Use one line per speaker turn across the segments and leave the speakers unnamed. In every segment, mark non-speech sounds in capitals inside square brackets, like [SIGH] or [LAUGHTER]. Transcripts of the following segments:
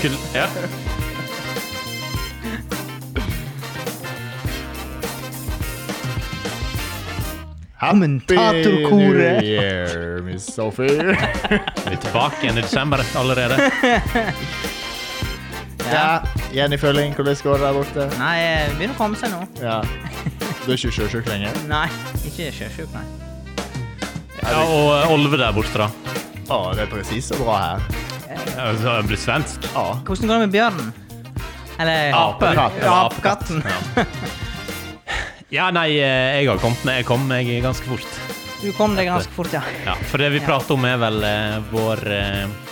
Kul ja.
Kommentatorkoret.
Happy New Year, Miss
[LAUGHS]
Sophie.
Vi er tilbake igjen i desember allerede.
ja. Jenny Følling, hvordan går det der borte?
Nei, eh, det begynner å komme seg nå.
Ja. Du er ikke sjøsjuk lenger?
Nei, ikke sjøsjuk, nei.
Ja, og eh, Olve der borte, da.
Å, det er presis så bra her.
Ja, så har jeg blitt svensk.
Ja.
Hvordan går det med bjørnen? Eller
Ape.
Apekatt.
Ja, apekatten.
Ja. ja, nei, eh, jeg har kommet ned. Jeg kom meg ganske fort.
Du kom deg ganske fort, ja.
Ja, For det vi prater om, er vel eh, vår eh,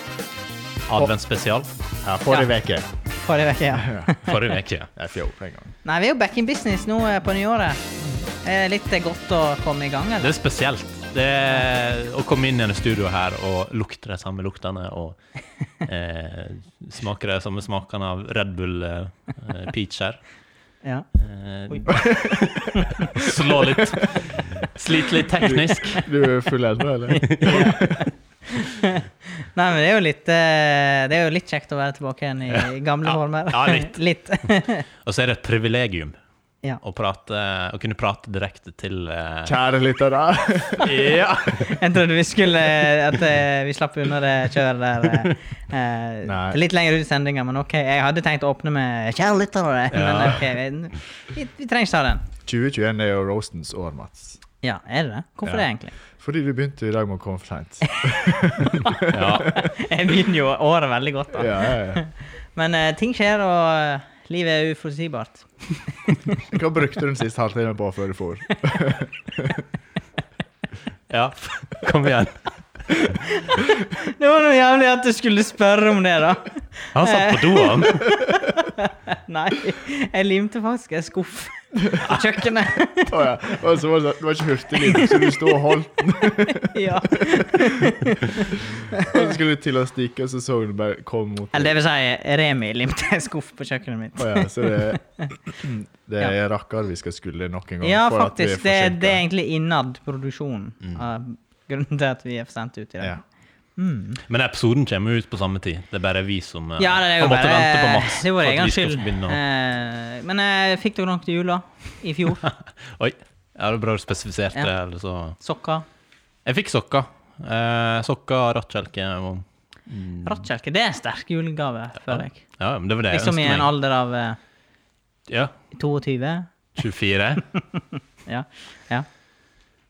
adventsspesial
Her får
Ja.
de veke.
Forrige uke, ja.
forrige uke.
Det er fjor en gang.
Nei, vi er jo back in business nå eh, på nyåret. Er det litt eh, godt å komme i gang,
Det
eller?
er spesielt. Det er å komme inn i dette studioet her og lukte de samme luktene og eh, smake de samme smakene av Red Bull eh, Peach her.
Ja. Oi.
Eh, slå litt. Slite litt teknisk.
Du er full ennå,
[LAUGHS]
eller?
Nei, men det er jo litt eh, Det er jo litt kjekt å være tilbake igjen i i gamle
Ja.
former.
Ja, litt.
[LAUGHS] litt.
Og så er det et privilegium
Ja.
å, prate, å kunne prate direkte til eh,
Kjære lyttere. [LAUGHS]
Ja!
Jeg trodde vi skulle At eh, vi slapp unna det kjøret der. eh, eh,
Nei.
litt lenger ut i sendinga, men OK. Jeg hadde tenkt å åpne med 'Kjære lyttere', [LAUGHS] men
Ja.
OK. Vi, vi, vi trenger ikke ta den.
2021 er jo roastens år, Mats.
Ja, er det det? Hvorfor
Ja.
det, egentlig? [LAUGHS]
Fordi vi begynte i dag med å komme for seint.
ja.
Jeg begynner jo året veldig godt, da.
Ja, ja, ja.
Men eh, ting skjer, og eh, livet er uforutsigbart.
Hva brukte du den siste halvtimen på før du for?
ja. Kom igjen.
Det var noe jævlig at du skulle spørre om det, da. [LAUGHS]
Han satt på do, han.
Nei, jeg limte faktisk en skuff på kjøkkenet. [LAUGHS]
Å, ja. Og så var det, sånn- det var ikke hurtiglyd, så du sto og holdt den.
Ja.
Og så skulle du til å stikke, og så så du bare kom mot
Eller det vil si, Remi limte en skuff på kjøkkenet mitt.
Å ja, så det, det er rakker vi skal skulle nok en gang.
Ja,
for at vi er
faktisk. Det,
forsinket.
det er egentlig innad produksjonen
Mm.
av grunnen til at vi er for sent ute i dag.
Ja.
Mm.
Men episoden kommer ut på samme tid. Det er bare vi som eh,
Ja, det er jo
har måttet
bare
vente på Mats.
Det er
for
vår
at
egen
vi skal
skyld.
begynne å-
Eh, Men jeg fikk dere noe til jula i fjor?
[LAUGHS] Oi. Ja, det er bra du spesifiserte
Ja.
det. eller så-
Sokker?
Jeg fikk sokker. Eh, sokker, rattkjelke og Mm.
Rattkjelke? Det er en sterk julegave, føler jeg.
Ja, men det var det jeg
Liksom i
ønsket
en
meg.
alder av eh,
Ja,
22.
24.
[LAUGHS] Ja. ja.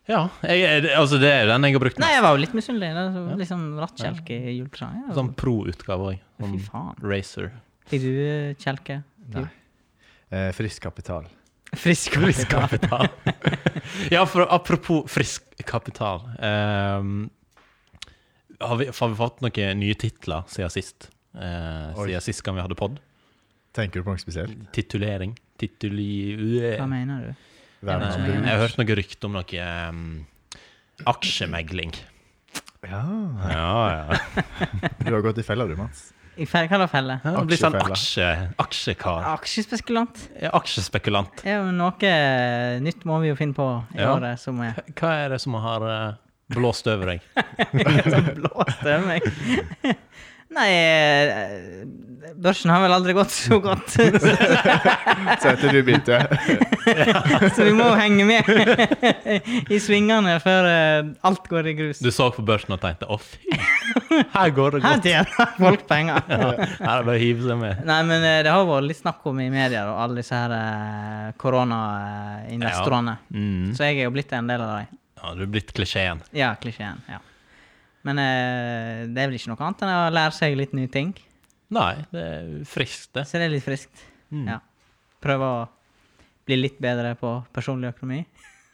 Ja, jeg, er- det- altså det er den jeg har brukt
Nei,
mest.
jeg var jo litt misunnelig. Det er så- Liksom rattkjelke i julepresang. Ja.
Sånn pro-utgave òg.
Fy
Sånn
faen.
racer.
Fikk du eh, kjelke?
Nei. Eh, frisk kapital.
Frisk
Frisk kapital. [LAUGHS] ja, for apropos frisk kapital. ehm, har, vi, har vi fått noen nye titler siden sist? Eh,
Oi.
siden sist gang vi hadde pod?
Tenker du på noe spesielt?
Titulering? Tituli...
Hva mener du?
Verden som
Nei,
brus?
jeg har hørt noe rykte om noe ehm, aksjemegling.
Ja,
Ja, ja.
du har gått i fella du, Mats.
I felle, felle?
Det blir sånn
Aksjefella.
aksje, aksjekar.
Aksjespekulant.
Ja, Aksjespekulant.
Det er jo noe nytt må vi jo finne på i
Ja.
året som er [LAUGHS]
Hva er det som har eh, blåst over deg?
som blåst over meg. [LAUGHS] Nei, eh, børsen har vel aldri gått så godt, [LAUGHS] så
Så etter du begynte.
så vi må jo henge med [LAUGHS] i svingene før eh, alt går i grus.
Du så på børsen og tenkte 'å, fy, her går det
Her
godt'.
tjener folk penger.
Ja, her er det bare å hive seg med.
Nei, men eh, det har vært litt snakk om i media og alle disse her eh, koronainvestorene.
Mm.
Så jeg er jo blitt en del av dem.
Ja, du er blitt klisjeen.
Ja, klisjeen. ja. Men eh, det er vel ikke noe annet enn å lære seg litt nye ting.
Nei, det er friskt, det.
Så det er litt friskt.
Mm.
Ja. Prøve å bli litt bedre på personlig økonomi.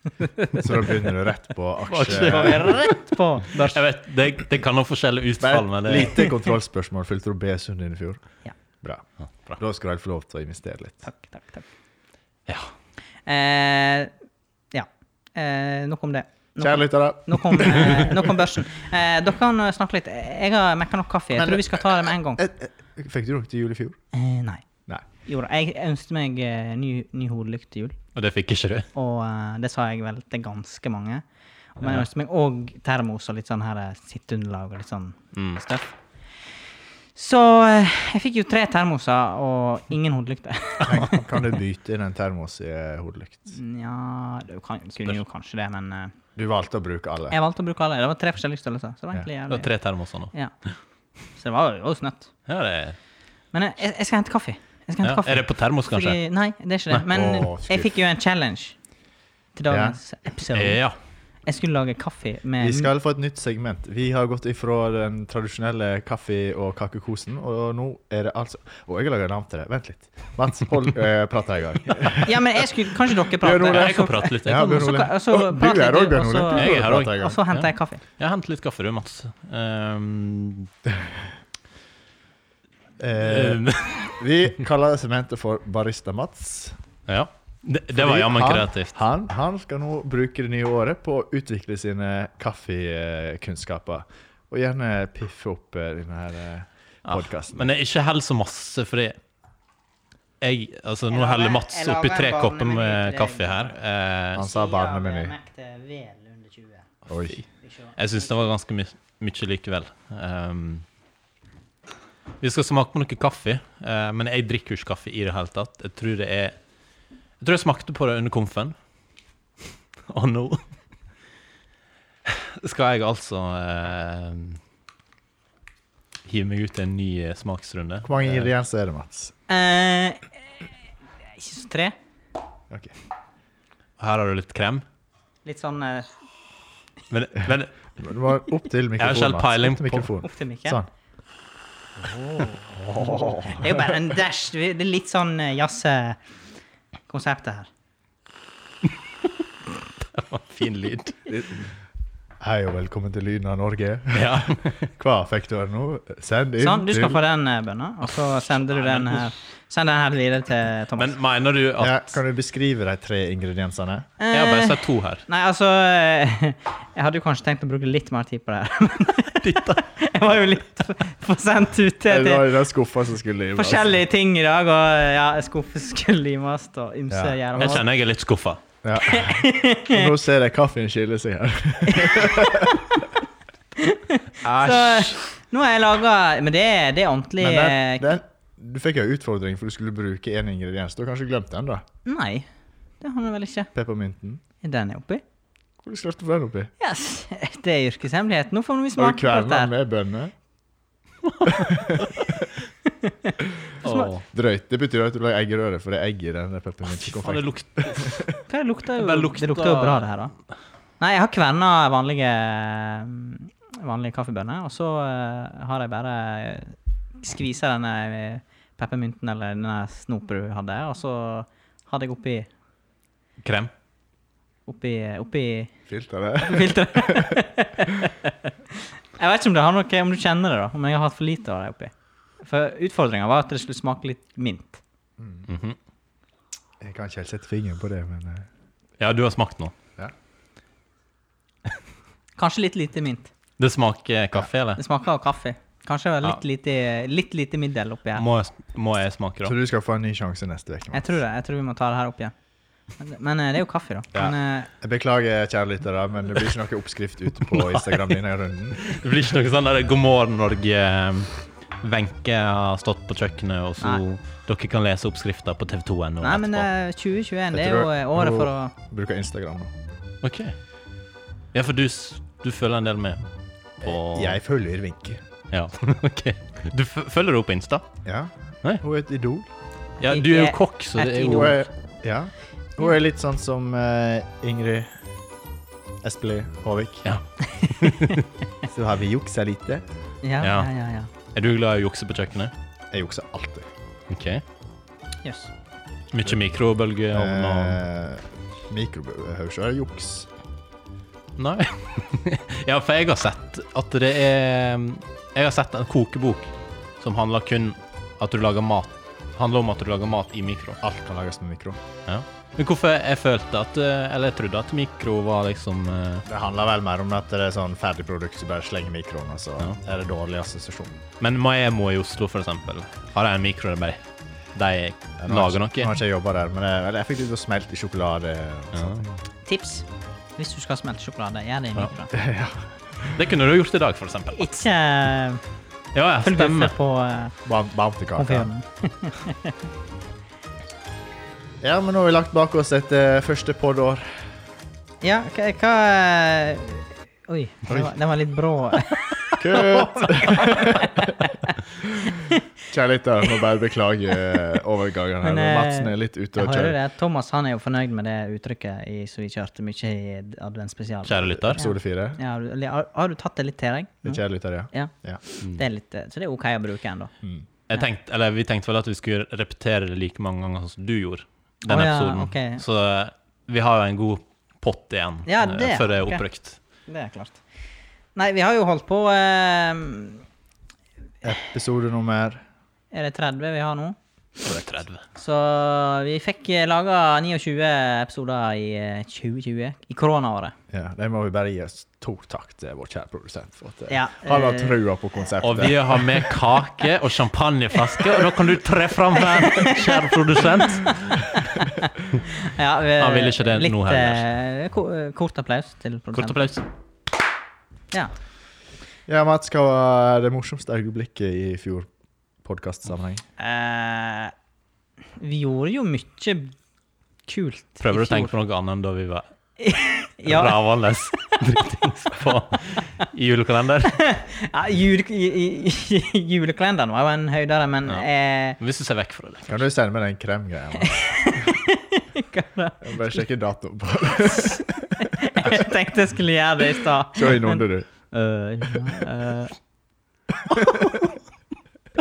Så da begynner du rett på
Så
aksje...
går vi rett på børs.
Jeg vet, det, det kan ha forskjellige utfall, men
Men,
det
lite kontrollspørsmål. Fylte du B-sund din i fjor?
Ja.
Bra.
Ja, bra.
Da skal du helt få lov til å investere litt.
Takk, takk, takk.
Ja.
Eh, ja. Eh, nok om det. Nok,
Kjære lyttere.
nok, om, eh, nok om børsen. Eh, dere kan snakke litt. Jeg har mekka nok kaffe. Jeg
Men-
tror vi skal ta det med en gang.
eh, eh, Fikk du noe til jul i fjor?
Eh, nei.
Nei.
Jo da, jeg ønsket meg eh, ny, ny hodelykt til jul,
Og det fikk ikke du?
og eh, det sa jeg vel til ganske mange. Men jeg ønsket meg òg termos og litt sånn her eh, sitteunderlag og litt sånn
Mm.
støff. Så eh, jeg fikk jo tre termoser og
[LAUGHS]
ingen hodelykter.
Kan- Kan du bytte inn en termos i eh, hodelykt?
Nja, du kan, kunne jo kanskje det, men eh,
Du valgte å bruke alle.
jeg valgte å bruke alle. Det var tre forskjellige størrelser. Så det var egentlig
Det var
jævlig.
tre termoser nå.
Ja. Så det var jo- det var jo snøtt.
Ja, det er,
Men eh, jeg, jeg skal hente kaffe. Jeg skal hente
ja.
kaffe.
er det på termos, kanskje?
Fordi, nei, det er ikke det.
Nei.
Men
Åh, skuff.
jeg fikk jo en challenge til dagens episode.
Ja.
Jeg skulle lage kaffe med
Vi skal få et nytt segment. Vi har gått ifra den tradisjonelle kaffe- og kakekosen, og nå er det altså Å, jeg har laga navn til det. Vent litt. Mats, hold
[LAUGHS]
uh, prata i gang.
Ja, men jeg skulle
[LAUGHS]
Kanskje dere
Bjørn
Ja,
prater?
Ole.
Jeg kan prate litt. Jeg,
Ja, Bjørn
så
Ole.
ka- altså,
Å,
prat
du
litt,
er òg Bjørn
og
Ole.
så-
Du
Jeg er her
prate
også.
i gang.
Og så
Ja.
henter jeg kaffe.
jeg henter litt kaffe, du, Mats. Ehm,
Eh,
ehm,
Vi kaller sementet for Barista Mats.
[LAUGHS] ja. Det, det var
Fordi
jammen
han-
kreativt.
Han, han skal nå bruke det nye året på å utvikle sine kaffekunnskaper. Og gjerne piffe opp eh, denne her
Ja,
podkasten.
Ah, Men jeg ikke hell så masse, fordi jeg, altså,
Jeg
Nå
lager-
heller Mats
jeg
oppi
lager
tre
en
kopper
barnemeny til
med
deg.
kaffe her. Eh,
Han sa barnemeny. Oi.
jeg syns det var ganske my mye likevel. Ehm, vi skal smake på noe kaffe, eh, men jeg drikker jo ikke kaffe i det hele tatt. Jeg tror det er Jeg tror jeg smakte på det under komfen, [LAUGHS] og nå [LAUGHS] skal jeg altså eh, hive meg ut i en ny eh, smaksrunde.
Hvor mange ingredienser er det, Mats?
Eh, ikke så tre.
Ok.
Her har du litt krem.
Litt sånn eh,
Men, men
Du må opp til
har
mikrofonen,
selv
Mats.
peiling
Opp til
på-
mikrofonen.
opp til Mikke.
Sånn.
Det er jo bare en dash. Det er litt sånn eh, jazz-konseptet her.
[LAUGHS] Fin lyd.
Hei og velkommen til Lyden av Norge.
[LAUGHS] Ja.
Hva fikk du her nå? Send inn
Sånn, du skal
til
få den, eh, Bønna, og så sender du den her Send den her videre til Thomas.
Men mener du at
ja, Kan du beskrive de tre ingrediensene?
Jeg har bare
Eh,
sett to her.
Nei, altså eh, [LAUGHS] Jeg hadde jo kanskje tenkt å bruke litt mer tid på det her. [LAUGHS]
[LAUGHS]
men jeg var jo litt for- for sent ute
Det
til
var i den skuffa som skulle i.
forskjellige ting i dag, og eh, ja, skuffe [LAUGHS] skulle limes og ymse
Ja.
Jeg
gjøres.
kjenner jeg er litt skuffa.
[LAUGHS]
Ja. Og Nå ser jeg kaffen skille seg her.
Så eh, nå har jeg laga Men det, er- det er ordentlig
Men
eh,
den, den, du fikk jo en utfordring, for du skulle bruke én ingrediens. Du har kanskje glemt den, da?
Nei, det har jeg vel ikke.
Peppermynten.
Er den jeg oppi?
Hvor slapp du den oppi?
Yes, [LAUGHS] det er yrkeshemmelighet. Nå får vi
Har du
smake på dette.
kverna
her.
med bønner?
Åh.
Drøyt. Det betyr at du lager eggerøre, for det er egg i den
Faen, det
peppermynten.
lukter
Hva det lukter jo
Det bare lukter-
Det lukter jo bra, det her, da. Nei, jeg har kverna vanlige, mm, vanlige kaffebønner, og så eh, har jeg bare skvisa denne peppermynten eller denne snopen du hadde, og så hadde jeg oppi
krem.
Oppi, oppi
Filteret.
filteret. [LAUGHS] jeg vet ikke om det har noe, om du kjenner det, da. Om jeg har hatt for lite av det oppi. For utfordringa var at det skulle smake litt mint.
Mhm.
[LAUGHS] Jeg kan ikke helt sette fingeren på det, men eh,
Ja, du har smakt nå.
Kanskje litt lite mint.
Det smaker kaffe, eller?
Det smaker av kaffe. Kanskje det var litt,
Ja.
lite, litt lite middel oppi her.
Må jeg, må jeg smake,
Så
da?
du skal få en ny sjanse neste uke.
Jeg tror det. Jeg tror vi må ta det her opp igjen. Men, men eh, det er jo kaffe, da.
Ja.
Men, eh,
Jeg beklager, kjære lyttere, men det blir ikke noe oppskrift ute
[LAUGHS]
på Instagram denne runden.
Det blir ikke noe sånn der 'God morgen, Norge'. Eh, Wenche har stått på kjøkkenet, og så Dere kan lese oppskrifta på TV2.no.
nei, men
etterpå.
eh, 2021 det
Jeg
er jo
tror-
eh, året for å
Bruker Instagram nå.
OK. Ja, for du, s- du følger en del med på
Eh, Jeg følger Vinke.
Ja, [LAUGHS] OK. Du f følger henne på Insta?
Ja.
Nei.
Hun er et idol.
Ja, du er jo
Ikke
kokk, så det er
et
jo
Hun
idol.
er, ja. Hun er litt sånn som eh, Ingrid Espelid Håvik.
Ja.
[LAUGHS] Så har vi juksa lite.
Ja, ja,
Oh. Ja.
ja. ja.
Er du glad i å jukse på kjøkkenet?
Jeg jukser alltid.
OK.
Yes.
Mye mikrobølgeovn og
Eh, Mikrobehøver ikke være juks.
Nei. [LAUGHS] ja, for jeg har sett at det er Jeg har sett en kokebok som handler kun at du lager mat Handler om at du lager mat i mikro.
Alt kan lages med mikro.
Ja. Men hvorfor jeg følte at eh, Eller jeg trodde at mikro var liksom eh,
Det handler vel mer om at det er sånn ferdig produkt som bare slenger mikroen, og så er det dårlig assosiasjon.
Men Maemo i Oslo, for eksempel, har de en mikro der bare de
Ja, nå har
lager
jeg
noe?
ikke- Nå har ikke jeg jobba der, men jeg, eller jeg fikk litt å smelte i sjokolade. Og
Ja.
sånne ting.
Tips hvis du
[LAUGHS]
skal smelte sjokolade, gjør det
Ja.
i mikroen.
Det kunne du gjort i dag, for eksempel.
Ikke eh,
Ja, ja,
Følg
stemmer.
med på eh,
Bam, bam til kaka.
konfirmen.
Ja, men nå har vi lagt bak oss et eh, første
[LAUGHS]
podår.
Ja, hva, hva eh, Oi, den var, den var litt brå.
[LAUGHS] Kutt! [LAUGHS] Kjære lytter, må bare beklage eh, overgangen her.
Men,
Men
eh,
Madsen er litt ute
Jeg
og
[LAUGHS] hører
kjører.
det. Thomas han er jo fornøyd med det uttrykket i, som vi kjørte mye i adventsspesialen.
Kjære lytter.
Episode fire.
Ja, har, du- eller har, har du tatt det litt til deg?
Det er Kjære lytter, ja.
Ja.
ja.
Mm.
Det er litt, eh, så det er OK å bruke ennå.
Jeg tenkte, eller vi tenkte vel at vi skulle repetere det like mange ganger som du gjorde. Den
Å ja,
episoden.
ok.
Så eh, vi har jo en god pott igjen
Ja,
eh,
det,
før det er
ok.
oppbrukt.
Det er klart. Nei, vi har jo holdt på eh,
Episode nummer
Er det 30 vi har nå?
Så det er 30.
Så vi fikk eh, laga 29 episoder i eh, 2020, i koronaåret.
Ja, det må vi bare gi oss to takk til vår kjære produsent. For at, eh,
Ja,
han har
eh,
trua på konseptet.
Og vi har med kake og champagneflaske, og da kan du tre fram her, kjære produsent. [LAUGHS]
Ja, vi,
Han ville ikke det
litt,
nå heller.
eh, ko- eh, kort applaus til
Kort
produsenten.
applaus.
Ja.
Ja, Mats, hva var det morsomste øyeblikket i fjor podkastsammenheng?
Eh, vi gjorde jo mye kult. i
Prøver du å
fjor.
tenke på noe annet enn da vi var
ja,
rævende dritings på i julekalender?
[LAUGHS] ja, jule, i- i- i- Julekalenderen var jo en høydere, men
Ja.
eh,
Hvis du ser vekk fra det.
Kan du sende meg den kremgreia?
[LAUGHS]
Mats? Jeg Bare sjekke datoen på den.
jeg tenkte jeg skulle gjøre det i stad.
Se i noen, du.
Eh, eh.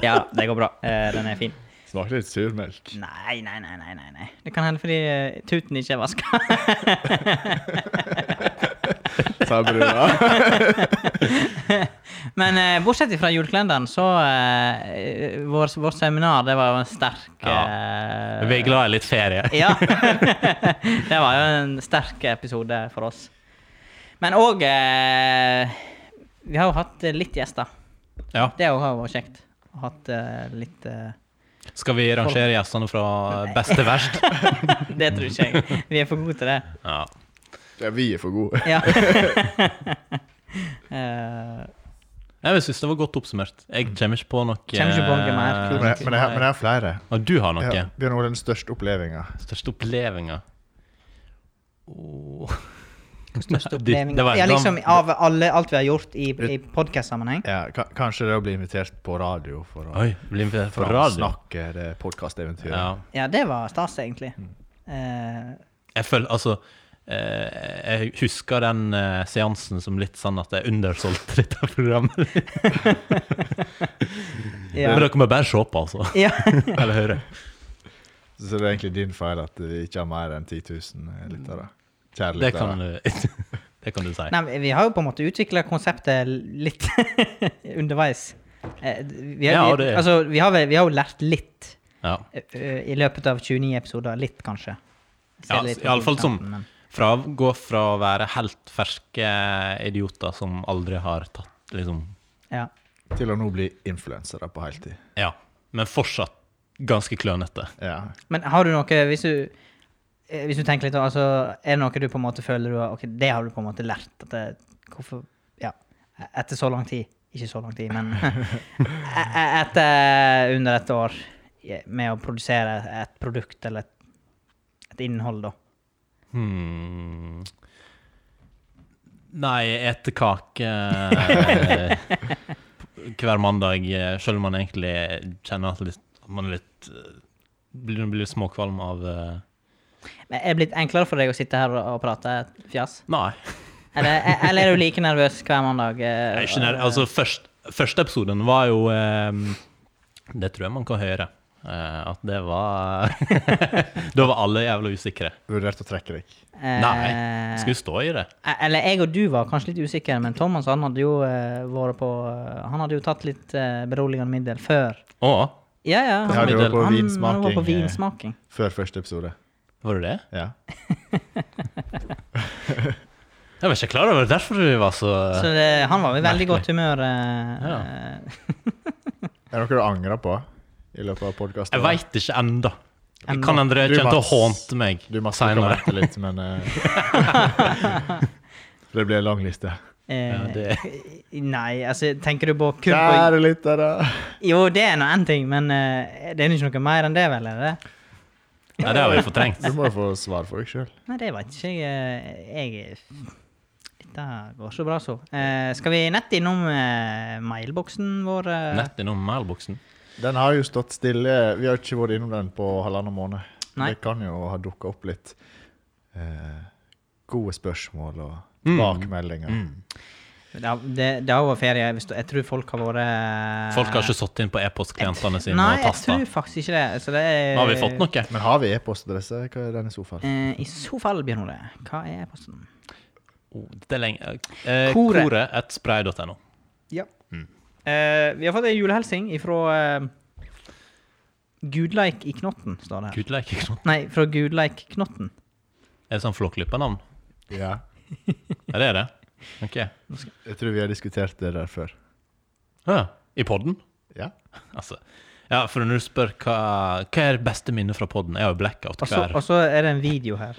ja, det går bra. Eh, den er fin.
Smaker litt surmelk.
Nei, nei, nei, nei, nei, nei. Det kan hende fordi eh, tuten ikke er vaska. Mm.
Sa brua.
[LAUGHS] Men eh, bortsett fra julekalenderen, så eh, vår, Vårt seminar, det var jo en sterk
Ja.
eh,
Vi er glad i litt ferie.
[LAUGHS] Ja. det var jo en sterk episode for oss. Men òg eh, Vi har jo hatt eh, litt gjester.
Ja.
Det òg har jo vært kjekt. Hatt eh, litt eh,
Skal vi rangere gjestene fra best til verst?
Det tror ikke jeg. Vi er for gode til det.
Ja.
Ja, vi er for gode.
Ja. [LAUGHS] Eh,
Jeg syns det var godt oppsummert. Jeg kommer ikke på noe
Mm.
eh,
Kommer ikke på noe mer kult.
Men jeg, men jeg, men jeg har flere.
Og du har noe.
Ja, Bjørn Ole, den største opplevelsen.
Største opplevinga [LAUGHS] oh.
største
Det- det var en
opplevelsen Ja,
dam-
liksom av alle, alt vi har gjort i, i podkast-sammenheng.
Ja, ka- kanskje det å bli invitert på radio for å,
Oi, blir vi på
for å
radio?
snakke det podkasteventyret.
Ja.
Ja, det var stas, egentlig.
Mm.
Eh,
Jeg føler Altså, eh, jeg husker den eh, seansen som litt sånn at jeg undersolgte dette programmet.
ja.
Men dere må bare se på, altså.
ja.
[LAUGHS] Eller høre.
Så det er egentlig din feil at vi ikke har mer enn 10 000 lyttere. Kjære
Det kan
lyttere.
du, det kan du [LAUGHS] si.
Nei, men vi har jo på en måte utvikla konseptet litt [LAUGHS] underveis. Eh, Vi har,
Ja,
vi,
det-
altså, vi, har, vel- vi har jo lært litt
Ja.
eh, eh, i løpet av 29 episoder. Litt, kanskje. Ser
Ja,
litt på
i alle fall som-
produsenten, men-
Fra, gå fra å være helt ferske idioter som aldri har tatt liksom
Ja.
Til å nå bli influensere på heltid.
Ja. Men fortsatt ganske klønete.
Ja.
Men har du noe Hvis du, eh, hvis du tenker litt altså, Er det noe du på en måte føler du har Ok, det har du på en måte lært. At det, hvorfor Ja. e-, Etter så lang tid. Ikke så lang tid, men [LAUGHS] e- e- etter under et år eh, med å produsere et produkt eller et, et innhold, da.
Hmm. Nei, ete kake eh, [LAUGHS] hver mandag, eh, selv om man egentlig kjenner at, litt, at man er litt eh, Blir, blir litt småkvalm av eh,
Men Er det blitt enklere for deg å sitte her og, og prate fjas?
Nei.
Eller, e- eller er du like nervøs hver mandag?
Jeg
eh,
er ikke nær, altså, først, første episoden var jo eh, Det tror jeg man kan høre. eh, at det var [LAUGHS] Da var alle jævla usikre.
Vurdert å trekke deg.
eh,
Nei, Skulle stå i det.
Eh, Eller jeg og du var kanskje litt usikre, men Thomas han hadde jo eh, vært på eh, Han hadde jo tatt litt eh, beroligende middel før.
Å,
Ja, ja.
Ja,
Han,
du var på
han-
vinsmaking,
Han var på
eh.
vinsmaking.
Før første episode.
var det det?
Ja.
Jeg var ikke klar over det. Derfor du var så
Så det, han var i veldig
Merkelig.
godt humør. eh,
Ja.
eh,
Er det noe du angrer på i løpet av podkasten?
Jeg veit ikke ennå.
Enda.
Kan André
Du,
kommer til å
Mats.
hånte meg
Du må snakke
[LAUGHS]
om [LAUGHS]
senere.
dette litt, men eh, Det blir en lang liste.
Ja, det-
[LAUGHS] Nei, altså, tenker du på kun på
Kjære lyttere!
Jo, det er nå én ting, men eh, det er jo ikke noe mer enn det, vel? er det?
Nei, det har vi
[LAUGHS]
fortrengt.
Du må jo få svar for deg sjøl.
Nei, det veit ikke jeg. eh, Jeg Dette går så bra, så. Eh, skal vi nett innom eh, mailboksen vår? eh?
Nett innom mailboksen.
Den har jo stått stille. Vi har ikke vært innom den på halvannen måned.
Nei.
Det kan jo ha dukka opp litt eh, gode spørsmål og
Mm.
bakmeldinger.
Mm.
Det har- Det det har vært ferie. hvis du- Jeg tror folk har vært eh,
Folk har ikke satt inn på e-postklientene sine
Nei,
og
jeg
tasta.
tror faktisk ikke det. Så det er,
Nå har vi fått noe.
Men har vi e-postadresse? Hva er den i så fall?
Eh, I så fall, Bjørn Ole, hva er posten?
Oh, det er lenge. Eh,
Koret.
koret at spray.no.
Ja.
Mm.
Eh, vi har fått en julehelsing ifra eh, Gudleik i Knotten, står det her.
Gudleik, ikke sant?
Nei, fra Gudleik Knotten.
Er det sånn flåklypa-navn?
Ja.
Er det det? Ok.
Jeg tror vi har diskutert det der før.
Ja, I podden?
Ja.
Altså. Ja, for når du spør hva, hva er det beste minnet fra podden, jeg har jo blackout
Og så-
hver
Og så er det en video her.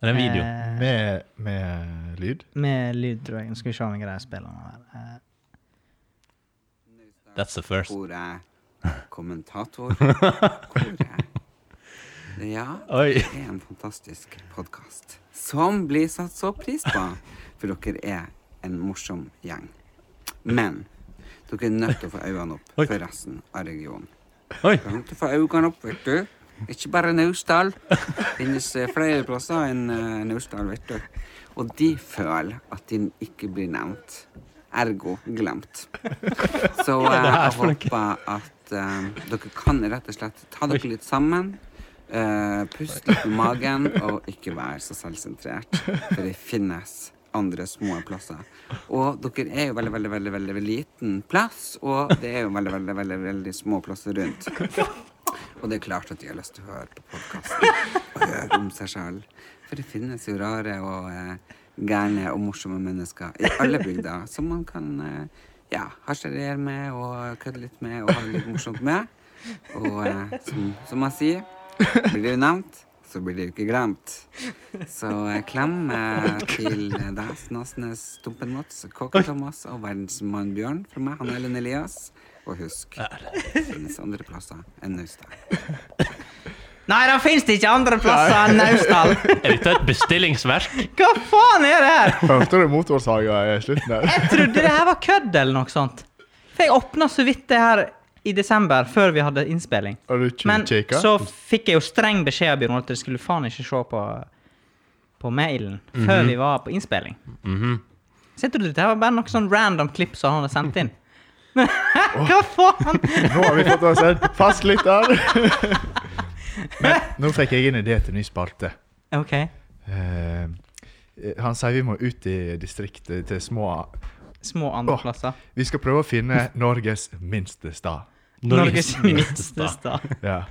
Er det en video?
Altså, Eh,
Med, med lyd?
med lyd, tror jeg. Nå Skal vi se om jeg greier å spille den her. Eh,
That's the first.
Hvor er
[LAUGHS]
kommentator? Hvor er Ja,
Oi.
det er en fantastisk podkast som blir satt så pris på, for dere er en morsom gjeng. Men dere er nødt til å få øynene opp
Oi.
for resten av regionen.
Oi!
Dere er nødt til å få øynene opp, vet du. Ikke bare Naustdal. Det finnes eh, flere plasser enn eh, Naustdal, vet du. Og de føler at de ikke blir nevnt. Ergo glemt. Så eh, jeg håper at eh, dere kan rett og slett ta dere litt sammen. eh, puste litt med magen og ikke være så selvsentrert. For det finnes andre små plasser. Og dere er jo veldig, veldig, veldig, veldig, veldig liten plass, og det er jo veldig, veldig, veldig, veldig små plasser rundt. Og det er klart at de har lyst til å høre på podkasten og høre om seg sjøl. For det finnes jo rare og eh, gærne og morsomme mennesker i alle bygder som man kan eh, ja, harselere med og kødde litt med og ha det litt morsomt med. Og eh, som, som man sier, blir det jo nevnt, så blir det jo ikke glemt. Så eh, klem eh, til deg, Snasnes, Stumpen-Mats, Kåken-Thomas og verdensmann Bjørn fra meg, han Ellen Elias. Og husk, det finnes andre plasser enn Naustdal.
Nei, da fins det ikke andre plasser enn Naustdal!
[LAUGHS] Er dette et bestillingsverk?
Hva faen er det her?!
[LAUGHS] Hørte du motorsaga i slutten der?
Jeg trodde det her var kødd eller noe sånt. For jeg åpna så vidt det her i desember, før vi hadde innspilling.
Har du ikke
Men
kikka?
så fikk jeg jo streng beskjed av Bjørn Holt at jeg skulle faen ikke se på, på mailen før vi var på innspilling. Så jeg trodde det var bare noe sånn random klipp som han hadde sendt inn. Men hva faen?
Nå har vi fått oss en fast
[LAUGHS]
lytter! Men nå fikk jeg en idé til ny spalte.
OK.
Eh, han sier vi må ut i distriktet, til små
Små andre
Åh.
plasser.
Vi skal prøve å finne Norges minste stad.
[LAUGHS] Norges minste stad.
Ja.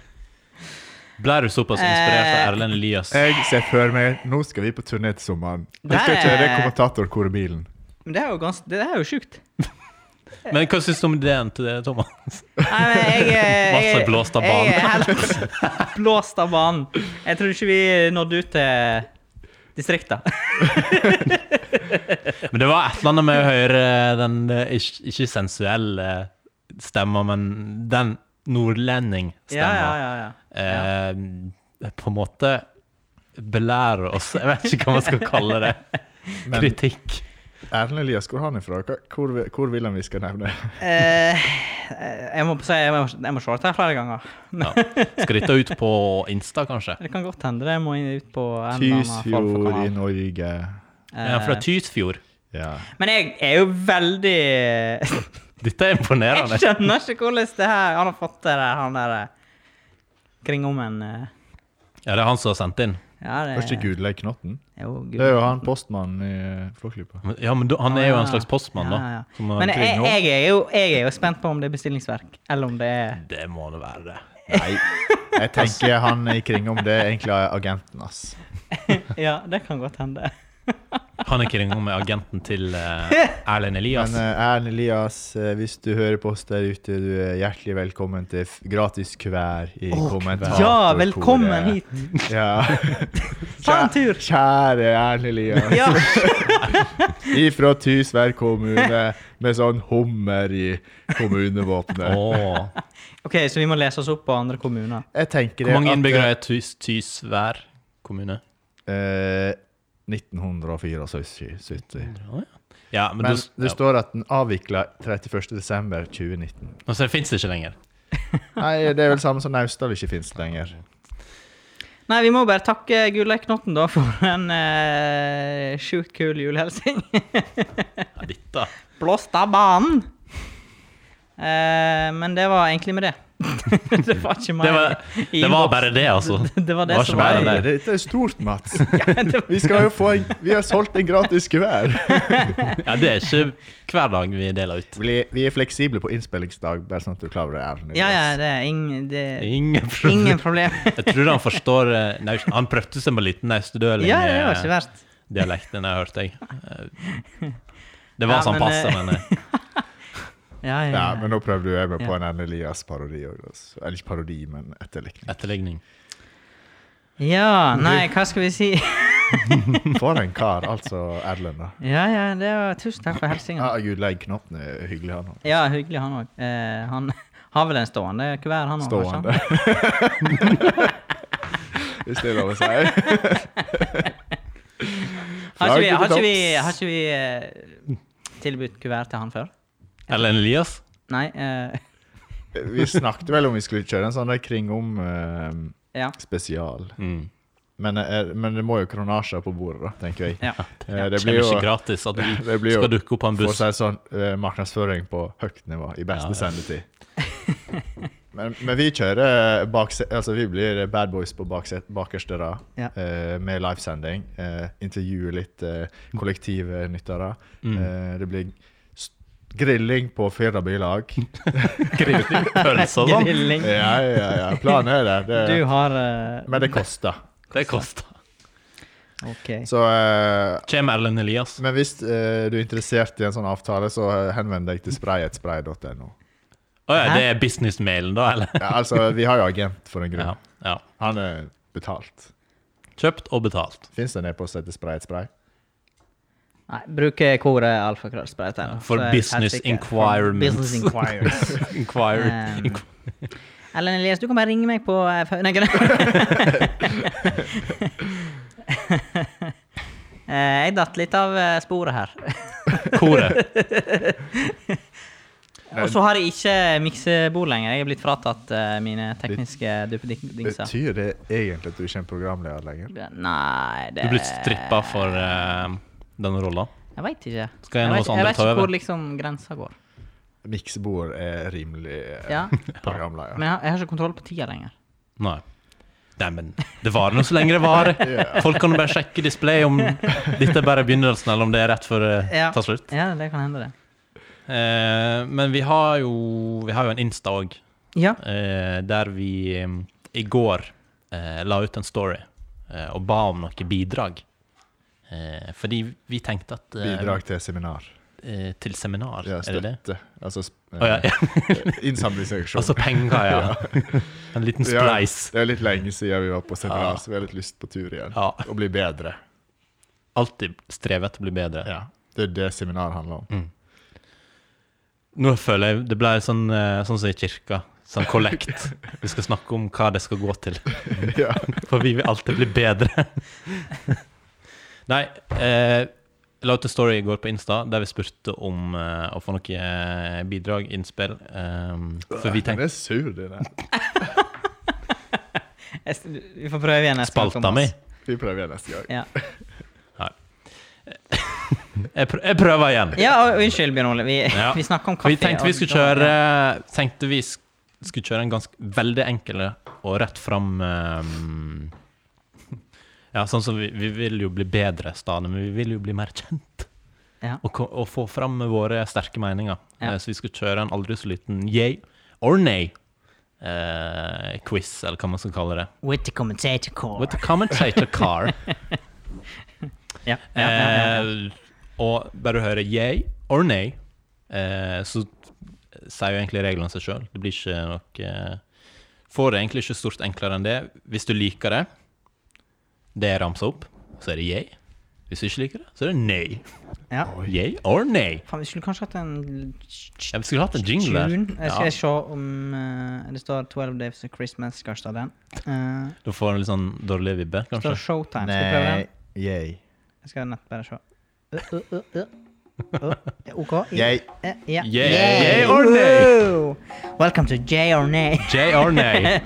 Ble du såpass inspirert av
Eh.
Erlend Elias?
Jeg ser for meg Nå skal vi på turné til sommeren. Vi skal
Der-
kjøre kommentatorkorebilen.
Men det er jo ganske Det er jo sjukt. [LAUGHS]
Men hva syns du om ideen til det, Thomas?
Nei, men jeg, eh, jeg,
Masse blåst av banen.
Jeg er
[LAUGHS]
helt blåst av banen. Jeg tror ikke vi nådde ut til distrikta.
Men det var et eller annet med å høre den eh, ikke, ikke sensuelle stemma, men den
Ja, ja,
nordlending-stemma.
ja, ja.
eh, på en måte belærer oss Jeg vet ikke hva man skal kalle
[LAUGHS]
det.
Men
Kritikk.
Erlend Elias, hvor er han ifra? Hva- Hvor, vi- hvor vil han vi skal nevne?
Eh, jeg må på si jeg må, jeg må se dette her flere ganger.
Ja. Skal dette ut på Insta, kanskje?
Det kan godt hende det må inn- ut på en eller annen form for
Tysfjord i
kanal.
Norge.
Eh.
Ja, fra Tysfjord.
Ja.
Men jeg er jo veldig [LAUGHS] Jeg
Dette er imponerende.
skjønner ikke hvordan det her Han har fått det der, han der eh, kringommen eh,
Ja, det er han som har sendt inn.
Ja, det
Var ikke Gudleik Knotten?
Jo, Gud.
Det er jo han postmannen i eh, Flåklypa.
Ja, men da- han er jo en
Ja,
slags postmann,
ja, ja.
da. Som har
Men
kring
jeg,
nå.
jeg, er jo, jeg er jo spent på om det er bestillingsverk, eller om det er
Det må det være, det.
Nei, [LAUGHS] jeg tenker han i Kringom, det er egentlig agenten, ass.
Ja, det kan godt hende.
Panikkringa med agenten til eh, Erlend Elias.
Men eh, Erlend Elias, eh, hvis du hører på oss der ute, du er hjertelig velkommen til f- gratis kuvær i kommentatorkoret.
Ja, velkommen hit! [LAUGHS]
Ja.
Ta en tur!
Kjære Erlend Elias,
[LAUGHS] Ja.
[LAUGHS]
ifra Tysvær kommune med sånn hummer i kommunevåpenet.
[LAUGHS] Åh.
OK, så vi må lese oss opp på andre kommuner.
Jeg tenker
Hvor
det
mange
at,
innbyggere er Tys, Tysvær kommune?
eh, 1974.
Ja, men,
Men
du,
det
ja.
står at den avvikla 31.12.2019.
Og så fins det ikke lenger.
Nei, det er vel samme som Naustdal ikke finnes lenger.
Nei, vi må bare takke Gulleknotten, da, for en eh, sjukt kul julehelsing.
Ja, dette.
[LAUGHS] Blåst av banen! Eh, men det var egentlig med det. [LAUGHS] det var ikke mer.
Det var,
i
det var
innboksen.
bare det, altså.
[LAUGHS] Det var det,
Det var ikke
som var
mer
Nei,
enn
det.
det.
dette er stort, Mats.
det
Vi skal jo få en, Vi har solgt en gratis kuvert.
[LAUGHS] Ja, det er ikke hver dag vi deler ut.
Vi vi er fleksible på innspillingsdag, bare sånn at du klarer det. Erlend.
Ja, ja, det er ingen, det,
Ingen problem.
ingen problem.
Jeg tror han forstår eh, naust. Han prøvde seg med en liten
[LAUGHS] ja, det var ikke
naustdøling-dialekten
verst.
jeg hørte, jeg. Eh, Det
Ja,
var sånn
men,
passe,
eh,
men eh,
Ja, ja,
Ja, men nå prøvde du meg på
Eh, Ja.
en Erlend Elias-parodi. også, altså. Eller ikke parodi, men etterlikning.
etterligning.
Ja, nei, hva skal vi si? [LAUGHS]
For en kar, altså Erlend. da.
Ja, ja, det var tusen takk for helsinga.
Ja, Gud, legg knotten er hyggelig, han òg.
Ja, hyggelig han òg. Eh, han [LAUGHS] har vel en stående kuvert, han òg?
Stående. [LAUGHS] Hvis det er lov å si.
[LAUGHS] Har ikke vi, har ikke vi, har ikke vi eh, tilbudt kuvert til han før?
Erlend Elias?
Nei. eh,
Vi snakket vel om vi skulle kjøre en sånn der kringom eh,
ja.
spesial.
Mm.
Men, eh, men det må jo kronasjer på bordet, da, tenker jeg. [LAUGHS]
ja.
Eh,
Det blir ikke gratis at vi
det blir jo
skal dukke opp på en
for å
buss.
si det sånn, eh, markedsføring på høyt nivå i
Ja,
beste
ja.
[LAUGHS]
sendetid. Men, men vi kjører bakse, altså vi blir bad boys på bakset, bakerste rad
Ja.
eh, med livesending. eh, intervjuer litt eh, kollektive nyttere.
Mm.
Eh, det blir s- grilling på firerbilag.
Grilling, [LAUGHS] pølser og sånn.
Grilling.
ja, ja, ja. Planen er det.
Mm. Du
det
har eh,
men det koster.
Det koster.
OK.
Så eh,
Kjem Erlend Elias?
Men hvis eh, du er interessert i en sånn avtale, så eh, henvend deg til sprayetspray.no.
Å ja,
Hæ?
det er businessmailen, da, eller?
Ja, altså, vi har jo agent for en grunn.
Ja, ja.
Han er betalt.
Kjøpt og betalt.
Fins det en e-post etter sprayetspray?
Nei, bruker koret alfakrøllspraytein.
For
så er jeg
business
helt sikker.
inquirement.
Business
[LAUGHS]
inquirement.
[LAUGHS] Inquired.
Um, Ellen Elias, du kan bare ringe meg på eh, fa- Nei, ikke det. [LAUGHS] Eh, Jeg datt litt av eh, sporet her. Eh.
Koret.
Og så har jeg ikke miksebord lenger. Jeg er blitt fratatt eh, mine tekniske duppedingser.
Betyr det egentlig at du ikke er en programleder lenger?
Nei,
Du
[LAUGHS] det
er blitt strippa for eh, den rolla.
Jeg veit ikke.
Skal en av
vet-
oss andre
vet
ta
ikke
over?
hvor liksom grensa går.
Miksebord er rimelig eh,
Ja.
[LAUGHS] programleder.
Men jeg har, jeg har ikke kontroll på tida lenger.
Nei. Nei, men det varer nå så lenge det [LAUGHS] varer. Folk kan jo bare sjekke display om dette er bare begynnelsen, eller om det er rett før det
Ja.
tar slutt.
Ja, det kan hende, det.
Eh, men vi har jo Vi har jo en Insta òg,
Ja.
eh, der vi eh, i går eh, la ut en story eh, og ba om noe bidrag. Eh, fordi vi tenkte at eh,
Bidrag til seminar.
eh, til seminar,
Ja,
er det det?
støtte. Altså sp-
Å, ja, ja. [LAUGHS]
eh, innsamlingsaksjon.
Altså penger, ja. En liten
Ja,
spleis.
det er litt lenge siden vi var på
Ja.
seminar, så vi har litt lyst på tur igjen.
Ja.
Og bli bedre.
Alltid streve etter å bli bedre.
Ja. Det er det seminar handler om.
Nå føler jeg det ble sånn, eh, sånn som i kirka. Sånn kollekt. Vi skal snakke om hva det skal gå til.
ja.
For vi vil alltid bli bedre. Nei, eh, jeg la ut en story i går på Insta der vi spurte om eh, å få noe eh, bidrag, innspill. eh, for vi
Den
tenkte
er sur, den der.
Jeg, s- vi får prøve igjen neste gang,
Spalta
Thomas.
mi.
Vi prøver igjen neste gang.
Ja.
Jeg, prø jeg prøver igjen.
ja, og- unnskyld, Bjørn Ole. Vi,
Ja.
vi snakka om kaffe.
Vi tenkte vi
og
skulle
da-
kjøre Tenkte vi sk- skulle kjøre en ganske veldig enkel og rett fram ehm, [LAUGHS] Ja, sånn som vi, vi vil jo bli bedre stadig, men vi vil jo bli mer kjent.
Ja.
Og, ko- og få fram våre sterke meninger.
Ja.
Eh, Så vi skal kjøre en aldri så liten yay or eh, nay-quiz, eller hva man skal kalle det.
With the commentator core.
With a commentator car.
Ja, ja, ja, ja, ja.
Eh, og bare du hører yay or nay, eh, så sier jo egentlig reglene seg sjøl. Det blir ikke noe eh, Får det egentlig ikke stort enklere enn det. Hvis du liker det, det er ramsa opp, så er det yay. Hvis du ikke liker det, så er det nei.
ja.
Yay or nay.
Faen, vi skulle kanskje hatt en
Ja, vi skulle hatt en jingle der.
Tune. Jeg skal
Ja.
se om eh, Det står 12 Days of Christmas. Skal ikke ta den. Eh,
Du får en litt sånn dårlig vibbe,
det står
kanskje.
Showtime. Skal jeg prøve
Nei.
den?
Yay.
Jeg skal nett bare se. Ø, ø, ø, ø. Ø, ja, OK. I-
Yay.
eh, ja.
[LAUGHS] Yay. Yay or nay?
Woo! Welcome to J or Nay
Yay or
[LAUGHS]
nay.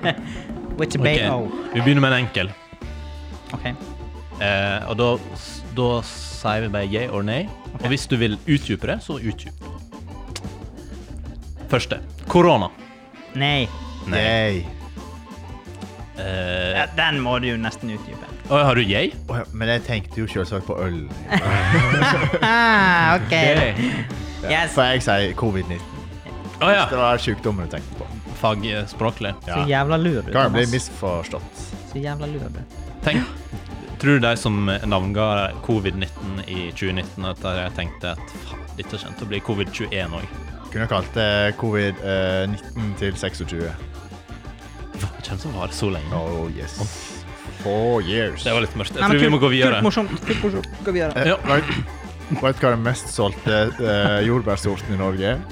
with the oh,
Ok,
Bay O.
Vi begynner med en enkel.
Ok.
Eh, og da, da sier vi bare yay or nay. Og hvis du vil utdype det, så utdyp. Første. Korona.
Nei.
Yay.
Eh,
Ja, den må du jo nesten
[LAUGHS]
utdype.
og har du yay?
Å ja, Men jeg tenkte jo selvsagt på øl.
[LAUGHS]
Ah, OK.
Yay.
Yes.
For jeg sier covid-19.
Å ja. eh,
Det var sykdommen du tenkte på.
Fagspråklig.
Så jævla lur du,
Kan jeg bli
Thomas.
misforstått.
Så jævla lur du.
Tenk, tror du de som navnga covid-19 i 2019, at de tenkte at faen, dette kommer til å bli covid-21 òg?
Kunne kalt det covid-19 til 26.
Det kommer til å vare så lenge.
Oh yes. Four years. Eh,
Det var litt mørkt.
Nei,
Jeg
men
tror vi
kult-
må gå videre.
Kult morsomt. Kult morsomt. Gå videre.
Ja.
Vet du hva den mest solgte eh, jordbærsorten i Norge er?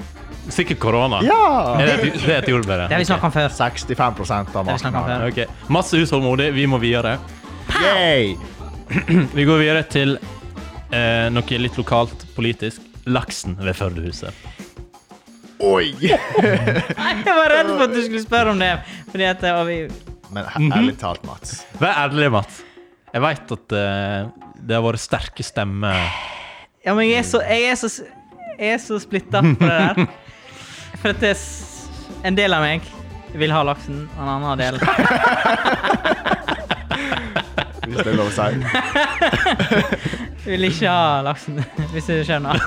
Sikkert korona.
Ja!
Er det, et- det er et jordbær?
Det har vi snakket om før.
65 av
Det har vi snakket om
markedet.
før.
Ok, Masse utålmodig. Vi må videre.
Yay!
Vi går videre til eh, noe litt lokalt politisk. Laksen ved Førdehuset.
Oi!
Nei, Jeg var redd for at du skulle spørre om det. Fordi at eh, og vi,
Men he- ærlig talt, Mats.
Vær ærlig, Mats. Jeg veit at eh, det har vært sterke stemmer.
Ja, men jeg er så Jeg er så, jeg er så splitta på det
[LAUGHS]
der. For at det er s- en del av meg vil ha laksen, og en annen del
Hvis det er lov å si.
vil ikke ha laksen. [LAUGHS] Hvis du skjønner.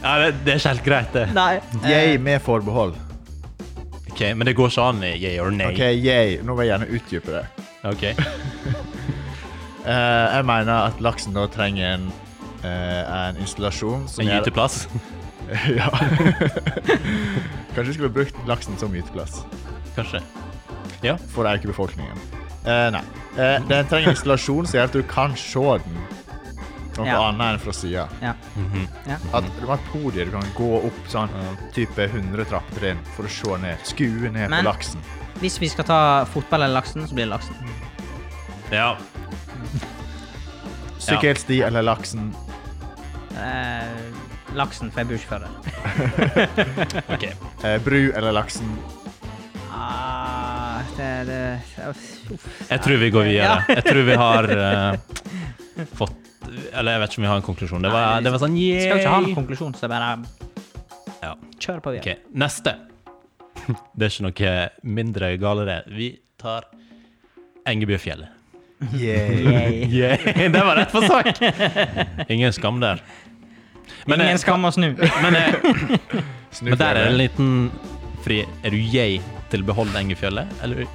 Ja, det, det er ikke helt greit, det.
[LAUGHS] Nei.
Yay med forbehold.
Ok, Men det går ikke an i yeah or nay.
OK, yay. Nå vil jeg gjerne utdype det.
[LAUGHS]
Ok.
Eh, jeg mener at laksen da trenger en, eh, en installasjon som
En
gjør-
gyteplass.
[LAUGHS] ja. Kanskje vi skulle brukt laksen som gyteplass
Kanskje. Ja.
for å øke befolkningen. Eh, nei. Eh, den trenger en installasjon som gjør at du kan se den noe
Ja.
annet enn fra sida.
Ja.
At
Mm.
du har et podium du kan gå opp sånn type 100 trappetrinn for å se ned. Skue ned
Men-
på laksen.
Hvis vi skal ta fotball eller laksen, så blir det laksen.
ja.
Sykkelsti eller laksen.
Eh, laksen, for jeg bor ikke før det.
Ok.
Eh, bru eller laksen.
Ah, det, det uff.
Jeg tror vi går videre. Jeg tror vi
[LAUGHS]
har eh, fått Eller jeg vet ikke om vi har en konklusjon. Det var, det var sånn yeah.
Skal jo ikke ha en konklusjon, så bare
Ja.
kjør på.
Ok,
videre.
neste. Det er ikke noe mindre gale det. Vi tar Engebøfjellet.
Yay.
Yeah, [LAUGHS] det var rett på sak! Ingen skam der. Men,
Ingen
eh,
skam å
[LAUGHS]
snu.
men, eh,
[LAUGHS]
[LAUGHS]
Snu
men der er det en
flere.
liten fri Er du yay til behold Engefjellet, eller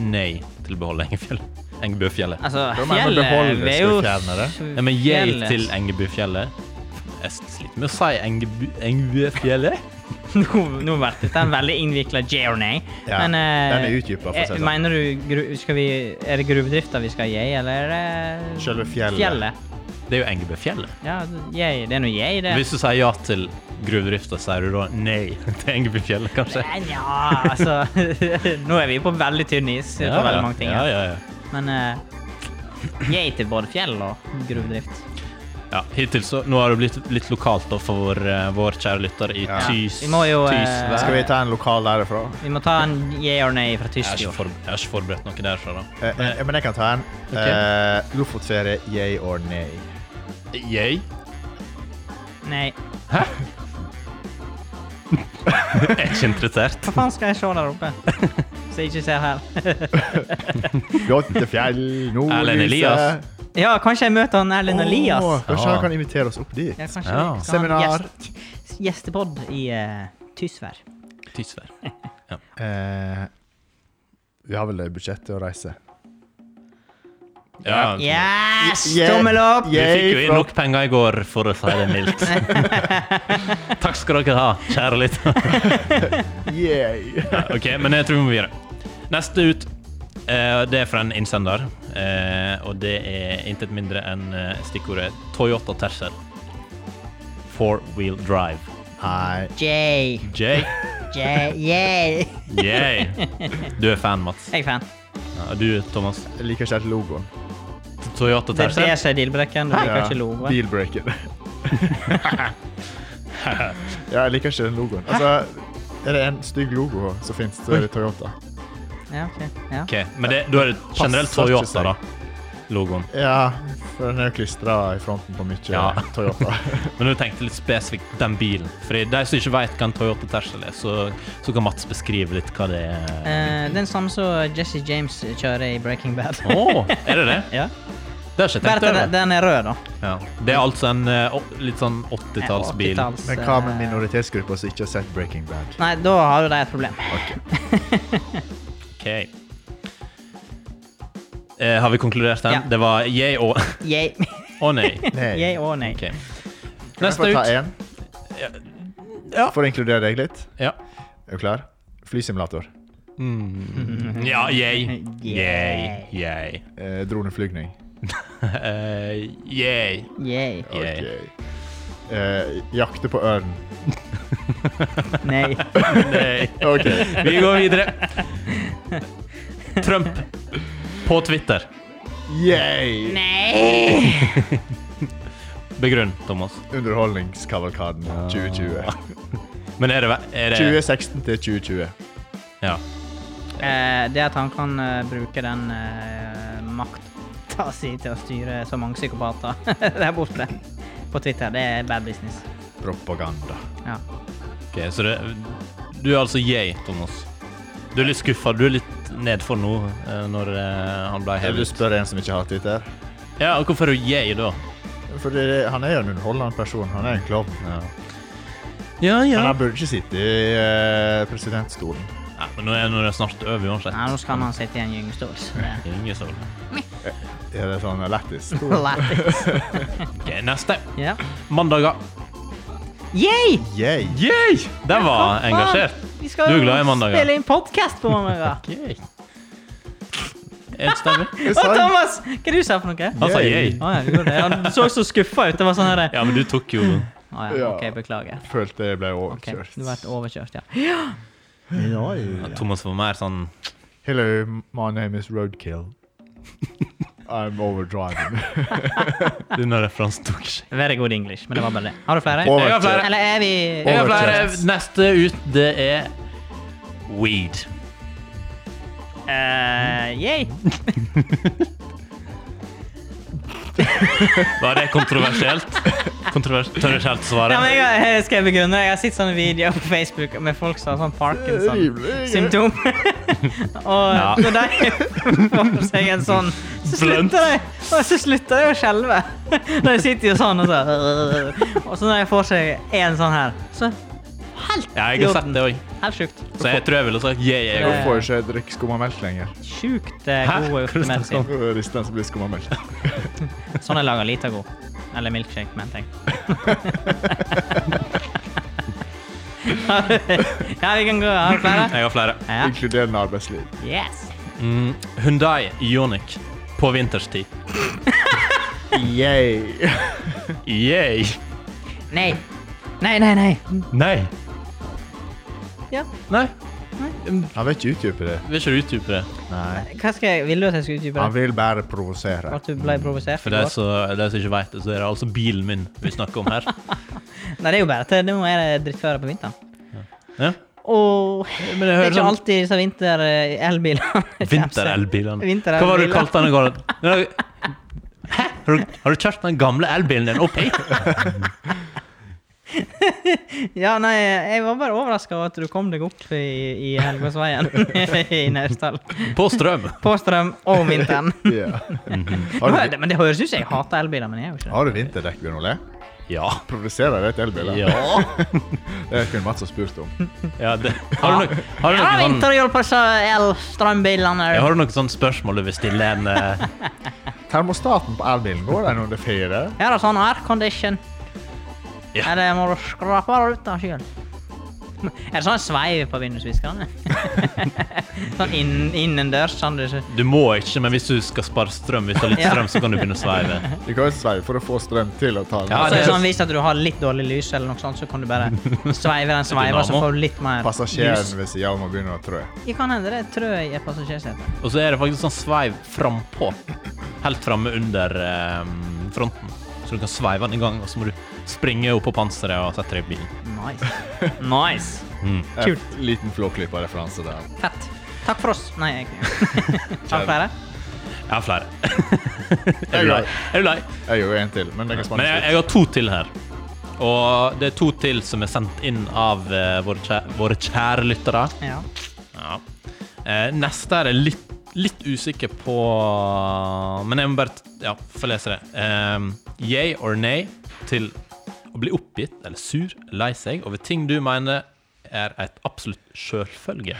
nei til behold Engefjellet? Engebøfjellet.
Altså,
Da må jeg
fjellet
beholde
vi er
skal
jo
fjerne det.
Ja, men yay
fjellet.
til Engebøfjellet Jeg sliter med å si Engebu- Engebøfjellet.
[LAUGHS] Nå, nå ble dette en veldig innvikla journey.
Ja,
men eh,
den er utdypet, for å si det sånn.
Mener du gru, skal vi, Er det gruvedrifta vi skal gi, eller er det
Selve fjellet.
Det er jo Engebøfjellet.
Ja, jeg, det er nå jeg, det.
Hvis du sier ja til gruvedrifta, sier du da nei [LAUGHS] til Engebøfjellet, kanskje?
Nei, Nja, altså [LAUGHS] Nå er vi på veldig tynn is på veldig mange ting.
Ja,
her.
ja, ja.
Men eh, jeg til både fjell og gruvedrift.
ja hittil så Nå har det blitt litt lokalt da for vår, eh, vår kjære lytter i
Ja.
Tys.
Vi må jo, eh,
Tysvær.
Skal vi ta en lokal derifra?
Vi må ta en yeah or nay fra
jeg har, ikke
Tysfjord.
for, jeg har ikke forberedt noe derfra, da.
Eh, eh, men jeg kan ta en. Eh, Lofotferie, yay or nay?
[LAUGHS] Yay.
Nei.
Jeg er ikke interessert.
Hva faen skal jeg se der oppe? Så jeg ikke ser her.
Jottefjell, nordlyset
Erlend Elias.
Ja, kanskje jeg møter han Erlend Elias.
Åh, kanskje han
Ja.
kan invitere oss opp dit?
Ja, kanskje
Ja.
vi skal ha
Seminar.
en Gjest, gjestepod i eh, Tysvær.
Tysvær.
Eh, vi har vel budsjett til å reise.
Ja,
Yes!
Yeah.
Tommel opp!
Du fikk jo
Yay,
inn
flott.
nok penger i går, for å si det mildt. Takk skal dere ha, kjære lytter. [LAUGHS]
Yeah.
Ok, men jeg tror vi må videre. Neste ut, eh, det er fra en innsender. eh, Og det er intet mindre enn eh, stikkordet Toyota Tercel. Four wheel drive.
Nei.
J.
Jay.
J. Yeah.
Yay. Du er fan, Mats.
Jeg er fan.
Ja, Og du, Thomas.
Jeg liker ikke helt logoen.
Toyota
Det er det
Tercel.
som er dealbreaken. Du liker ikke
[LAUGHS]
logoen.
Dealbreaker. ja, jeg liker ikke den logoen. Altså, er det en stygg logo som finnes, så er det Toyota.
Ja, ok. Ja.
Ok, men det, da er det generelt
Passer ikke
Toyota, da. Logoen.
Ja, for den er jo klistra i fronten på mye
Ja.
[LAUGHS]
Toyota.
Men du tenkte litt spesifikt den bilen. Fordi de som ikke vet hva en Toyota Tercel er, så, så kan Mats beskrive litt hva det er.
Eh, den samme som Jesse James kjører i Breaking Bad.
Å, er det det?
ja.
Det har jeg ikke
Bare
tenkt
at
over.
den- den er rød, da.
Ja. Det er altså en eh, å- litt sånn 80-tallsbil.
80-talls,
Men hva med
eh,
minoritetsgrupper som ikke har sett Breaking Bad?
Nei, da har jo de et problem. [LAUGHS]
Ok. Eh, har vi konkludert den?
Ja.
Det var yay og [LAUGHS]
Yay.
å nei.
Nei.
Yay og nei.
Ok.
Kan jeg få
Neste
ta
ut.
én?
Ja.
For å inkludere deg litt.
Ja.
Er du klar? Flysimulator.
Mhm.
Mm. ja,
[LAUGHS]
yay. Yay. Yay. [LAUGHS]
Eh, droneflygning.
Eh, yay.
Yay.
Yay.
Ok. Eh, jakte på ørn.
Nei.
Nei.
OK.
[LAUGHS] Vi går videre.
[LAUGHS]
Trump på Twitter.
Yay!
Nei!
Begrunn, Thomas.
Underholdningskavalkaden 2020.
Men er det, er det
2016 til 2020.
ja.
Eh, det at han kan eh, bruke den uh, makta si til å styre så mange psykopater [LAUGHS] der borte på Twitter, det er bad business.
Propaganda.
Ja.
Ok, så det Du er altså yay, Thomas. Du er litt skuffa. Du er litt nedfor nå eh, når eh, han ble
Jeg vil
hevet.
spørre en som ikke har Twitter.
Ja, og hvorfor er du yay, da?
For det, han er jo en underholdende person. Han er en klovn.
Ja,
Men
ja.
han burde ikke sitte i eh, presidentstolen.
Nei, men nå er nå er det snart over uansett.
Nei, nå skal han sitte i en gyngestol. så det-
Ingen som-
Er det sånn
[LAUGHS]
lættis? [LAUGHS]
Lættis.
Ok, neste.
Ja.
Mandager.
Yay!
Yay!
Yay! Den var
Hva faen?
engasjert.
Vi skal
Du er
jo
glad i mandager.
spille inn podkast på
[LAUGHS]
mandager.
Yay. Enstemmig.
Jeg
Å,
sa-
Thomas! Hva er det du sa for noe?
Han sa yay.
Å ja, du gjorde det. Han så så skuffa ut. Det var sånn herre
Ja, men du tok jo
Å ja,
Ja.
OK, beklager.
Følte jeg ble
Ok,
overkjørt.
Du ble overkjørt, ja.
Ja, Thomas var mer sånn
Hello, my name is Roadkill. I'm overdriving.
Denne referansen tok ikke
Very good English, men det var bare det. Har du flere?
Over-
Jeg har
[LAUGHS]
flere.
Eller er vi
Jeg har flere.
Overkjørt.
Neste ut, det er weed.
Eh, Yay!
[LAUGHS] Var det kontroversielt? Kontrovers Tørrskjelt
Ja,
svaret?
men jeg, jeg eh, skal jeg begrunne. Jeg har sett sånne videoer på Facebook med folk som har sånn Parkinson-symptom. [LAUGHS] og
Ja.
når de får seg en sånn, så
Blunt.
slutter de og så slutter de å skjelve. [LAUGHS] De sitter jo sånn og så Og så når de får seg en sånn her, så helt
Ja, jeg har sett det òg,
Helt sjukt.
så jeg tror jeg ville sagt yeah, yeah.
Jeg får ikke drikke skummamelk lenger.
Sjukt eh,
Hæ?
god
Hvordan
urtemedisin.
Nå er det Risten som blir skummamelk.
Sånn jeg lager lita god. Eller milkshake,
[LAUGHS]
mente jeg. [LAUGHS] ja, vi kan gå. Har du
[LAUGHS]
flere?
Jeg har flere.
Ja.
Inkluderende arbeidsliv.
Yes.
Mm, Hyundai Ioniq på vinterstid.
Yay!
Yay.
Nei. Nei, nei, nei.
Nei.
Ja.
Nei.
[LAUGHS] Han vet ikke utdype det.
Vil ikke du utdype det?
Nei.
Hva skal jeg, Ville du at jeg skulle utdype
Han
det?
vil bare provosere.
At du ble provosert?
For
i
de
går?
som de som ikke vet det, så er det altså bilen min vi snakker [LAUGHS] om her.
Nei, det er jo bare til nå er det drittfører på vinteren.
Ja.
Og
Men jeg
det er
hører
ikke
sånn
alltid disse eh, vinter-elbilene.
Vinterelbilene.
Vinterelbiler.
Hva var det du kalte den i [LAUGHS] går? Hæ? Har du, har du kjørt den gamle elbilen din opp [LAUGHS] hit?
Ja, nei, jeg var bare overraska over at du kom deg opp i, i Helgåsveien [LAUGHS] i Naustdal.
På strøm?
På strøm om
[LAUGHS]
vinteren.
Ja. Har
Nå er
du,
det- Men det høres ut som jeg hater elbiler, men jeg gjør jo ikke det.
har du vinterdekk, Bjørn Ole?
Ja.
Provoserer det et elbil? da?
Ja.
[LAUGHS] Det kunne Mats ha spurt om.
ja det. Har du noe, har du
Ja,
noe sånn
vinterhjul på så el-strømbilene.
jeg har du noen sånne spørsmål du vil stille en eh,
Termostaten på elbilen, går den under fire?
Er det sånn aircondition?
Ja.
Eller må du skrape det ut av sjøl? Er det sånn sveiv på
[LAUGHS]
vindusviskerne? sånn inn- innendørs? Sånn du ikke
Du må ikke, men hvis du skal spare strøm, hvis du har litt
Ja.
strøm, så kan du begynne å sveive.
Du kan jo sveive for å få strøm til å ta den.
Ja,
Så er
det
det
er-
sånn, Hvis at du har litt dårlig lys, eller noe sånt, så kan du bare sveive
[LAUGHS]
den sveiva, så
Dynamo.
får du litt mer
Passasjeren
lys.
ved sida av må begynne å trø.
Det kan hende det tror jeg er passasjersetet.
Og så er det faktisk sånn sveiv frampå. Helt framme under eh, fronten. Så du kan sveive den i gang, og så må du springe opp på panseret og sette deg i bilen.
Nice.
[LAUGHS]
nice. Kult.
Eh, Liten flåklypa-referanse der.
Fett. Takk for oss. Nei,
[LAUGHS]
jeg Har du flere?
Jeg har flere. er du lei? Er du lei?
Jeg gjorde en til, men jeg kan
Men jeg, jeg har to til her. Og det er to til som er sendt inn av eh, våre, kjære, våre kjære lyttere.
Ja.
Ja. Eh, neste er jeg litt, litt usikker på Men jeg må bare t- ja, få lese det. Um, yay or nay til å bli oppgitt eller sur, lei seg over ting du mener er et absolutt sjølfølge.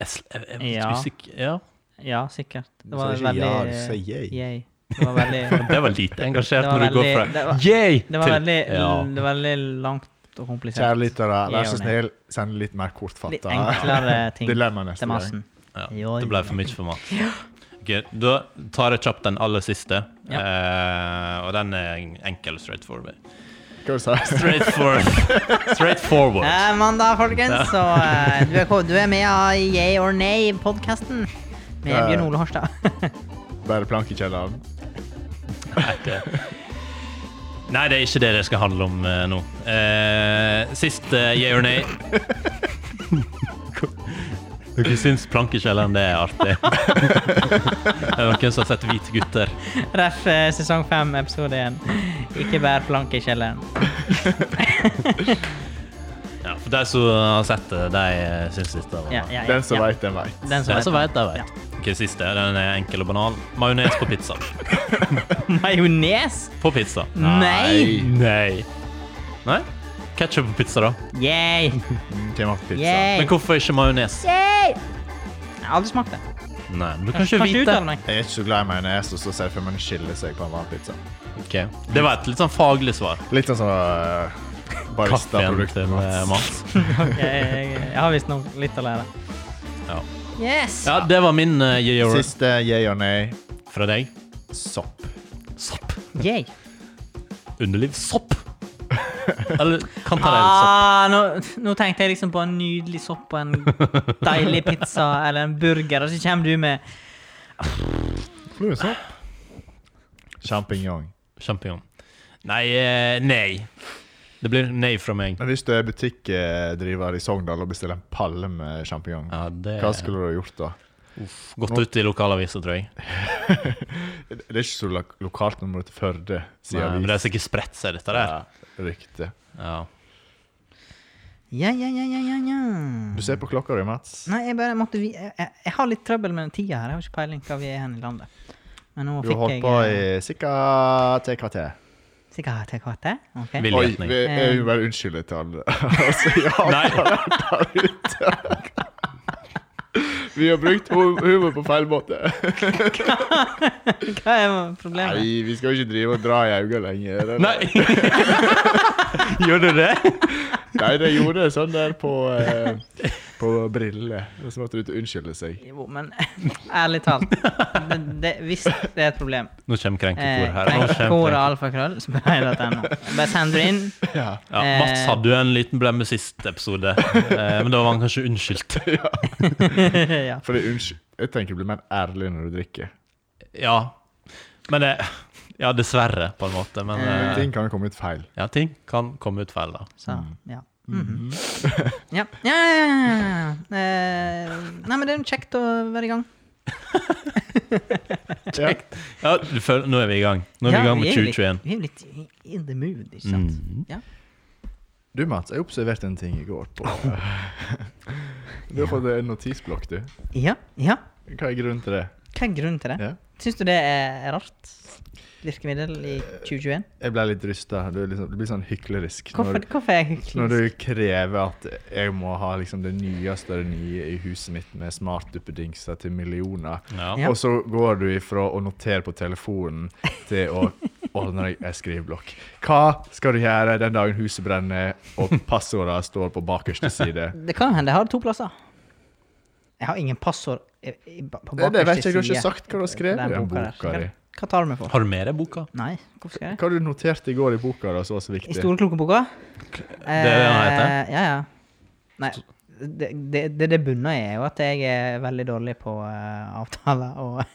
Jeg, sl- jeg, jeg er litt
Ja.
usikker Ja.
ja, sikkert. Det
Så
var
det er ikke
veldig
ja, du sier yay.
Yay. Det var veldig
Det var lite engasjert
Det var
når du går
veldig-
fra
det var-
yay
Det var veldig,
ja.
det var veldig langt og komplisert.
Kjære lyttere, vær så
Jeg
snill, send litt mer
Litt
kortfatta
enklere ting
dilemma neste
til
gang.
massen.
Ja,
Yay.
det ble for mye for meg. Ok, da tar jeg kjapt den aller siste,
Ja.
eh, og den er enkel straight forward.
[LAUGHS] Hva sa du?
Straight forward. [LAUGHS] Straight forward.
Eh, mandag, folkens, så eh, du, er, ko- du er med i Yay or Nay-podkasten med
Ja.
Bjørn Ole Horstad. [LAUGHS]
Bare plank i kjelleren?
Nei, det, nei, det er ikke det det skal handle om eh, nå. Eh, sist eh, yeah or nay. Dere syns plankekjelleren det er artig. det er noen som har sett Hvite gutter.
Ref eh, sesong fem, episode én. Ikke bær planke i kjelleren.
Ja, for de som har sett det, de eh, syns dette var
Ja, ja, ja,
Den som
ja.
veit, den veit.
Den
Den som vet,
vet.
de vet. Ok, siste. Den er enkel og banal. Majones på pizza.
Majones?
På pizza.
[LAUGHS]
Nei!
Nei. Nei? Ketchup på pizza, da.
Yay!
Kjem opp pizza.
Yay!
Men hvorfor ikke majones?
Yay! Jeg har aldri smakt det.
Nei, men du kan
Kanskje
ikke
jeg
vite.
uttaler meg.
Jeg er ikke så glad i majones, og så ser jeg for meg den skiller seg på en vanlig pizza.
Ok, Det var et litt sånn faglig svar.
Litt sånn som uh,
Kaffen
baristaproduktet
til eh,
Mats.
Mats.
Ok, jeg, jeg, jeg har visst noe litt å lære.
Ja.
Yes!
ja, det var min uh, year
Siste yeah or nay
fra deg.
sopp.
Sopp.
Yay!
Underlivssopp. Eller kantarellsopp.
Ah, nå, nå tenkte jeg liksom på en nydelig sopp og en deilig pizza eller en burger, og så kommer du med
Fluesopp. Sjampinjong.
Sjampinjong. Nei, eh, nei. Det blir nei fra meg.
Men hvis du er butikkdriver i Sogndal og bestiller en palle med sjampinjong,
Ja, det
hva skulle du ha gjort da?
Gått ut i lokalavisa, tror jeg.
Det er ikke så lo lokalt når man må til Førde,
Nei,
sier
men det
avis.
har sikkert spredt seg, dette der.
Ja, riktig.
Ja.
Ja, ja, ja, ja, ja, ja.
Du ser på klokka di, Mats.
Nei, jeg bare måtte vi... Jeg, jeg, jeg har litt trøbbel med tida her. Jeg har ikke peiling hva vi er hen i landet. Men nå
Du har holdt
fikk jeg eh,
på i ca. tre kvarter.
Sikkert til kvart, det? Ok.
Vil-
Oi,
Biljetning.
vi jeg
Eh.
vil bare unnskylde til alle. [LAUGHS] altså, ja, [LAUGHS]
Nei.
der ute. [LAUGHS] Vi har brukt hu- humor på feil måte.
Hva er problemet?
Nei, vi skal jo ikke drive og dra i øynene lenger. eller?
Nei! [LAUGHS] Gjør du det?
Nei, de gjorde det sånn der på, eh, på brillene. Og så måtte du til å unnskylde seg.
Jo, men [LAUGHS] ærlig talt det, det, Hvis det er et problem
Nå kommer
eh,
krenkekor her. Nå kommer
Kor og
krenkekoret.
alfakrøll så blir det denne. Bare send det inn. [LAUGHS]
Ja.
Ja, Mats hadde jo en liten blemme sist episode, eh, men da var han kanskje unnskyldt.
ja.
Fordi unnskyld, jeg tenker å bli mer ærlig når du drikker.
Ja. Men det Ja, dessverre, på en måte. Men
Men
eh,
ting kan jo komme ut feil.
ja, ting kan komme ut feil, da.
Så,
Mm.
ja.
Mm-hmm.
Mhm. ja. Ja, ja, ja, ja, ja. Eh, Nei, men det er jo kjekt å være i gang.
Ja.
Ja, du føler, Nå er vi i gang. Nå er vi i gang med Mm.
jo litt-
2021.
Vi er jo litt in the mood, ikke sant?
Mm.
Ja.
Du, Mats, jeg observerte en ting i går [LAUGHS] på Du har fått en notisblokk, du.
ja, ja.
Hva er grunnen til det?
Hva er grunnen til det?
Ja.
Syns du det er rart? Virkemiddel i 2021?
Jeg ble litt rysta. Du, er liksom, du blir sånn hyklerisk Eh,
Hvorfor,
når,
hvorfor er jeg
når
hyklerisk?
du krever at jeg må ha liksom det nyeste av det nye i huset mitt med smartduppedingser til millioner.
Ja.
Ja.
Og så går du ifra å notere på telefonen til å [LAUGHS] ordne deg en skriveblokk. Hva skal du gjøre den dagen huset brenner og passordene står på
[LAUGHS]
bakerste side?
Det kan hende jeg har to plasser. Jeg har ingen passord i- i- på
Det, det vet
bakerste
jeg, du har
side.
ikke sagt hva du har skrevet i
Den
den
boka der.
boka di.
Hva- Hva tar du meg for?
Har du med deg boka?
Nei, hvorfor skal jeg det?
Hva du noterte i går i boka da, som var så
I
viktig?
Storeklokeboka?
Det er det den heter?
Ja, ja. Nei, det det, det, det bunner i er jo at jeg er veldig dårlig på eh, avtaler og,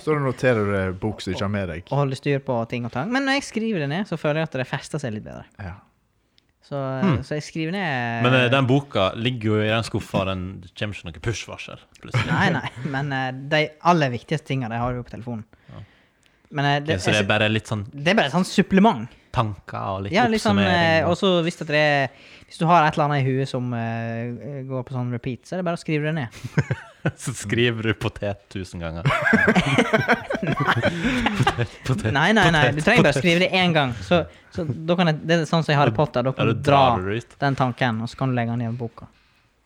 Så da noterer du en bok som du ikke har med deg.
og holder styr på ting og tang. Men når jeg skriver det ned, så føler jeg at det fester seg litt bedre.
Ja.
Så, så jeg skriver ned
Hmm. Men eh, den boka ligger jo i den skuffa, den det kommer ikke noe push-varsel. plutselig.
Nei, nei, men eh, de aller viktigste tinga, de har du jo på telefonen. Men eh, det,
Ok, så det er bare litt sånn
det er bare et sånt supplement.
tanker og litt
Ja, liksom,
oppsummering.
eh, også hvis, at det er, hvis du har et eller annet i huet som eh, går på sånn repeat, så er det bare å skrive det ned.
[LAUGHS] Så skriver du potet tusen
[LAUGHS]
ganger. potet, potet,
Nei, nei, nei,
potet,
du trenger bare å
potet.
skrive det én gang. Så, så da kan jeg, det er sånn som i Harry Potter, da
Ja,
kan
da
du dra
drar du det ut.
den tanken, og så kan du legge den i boka.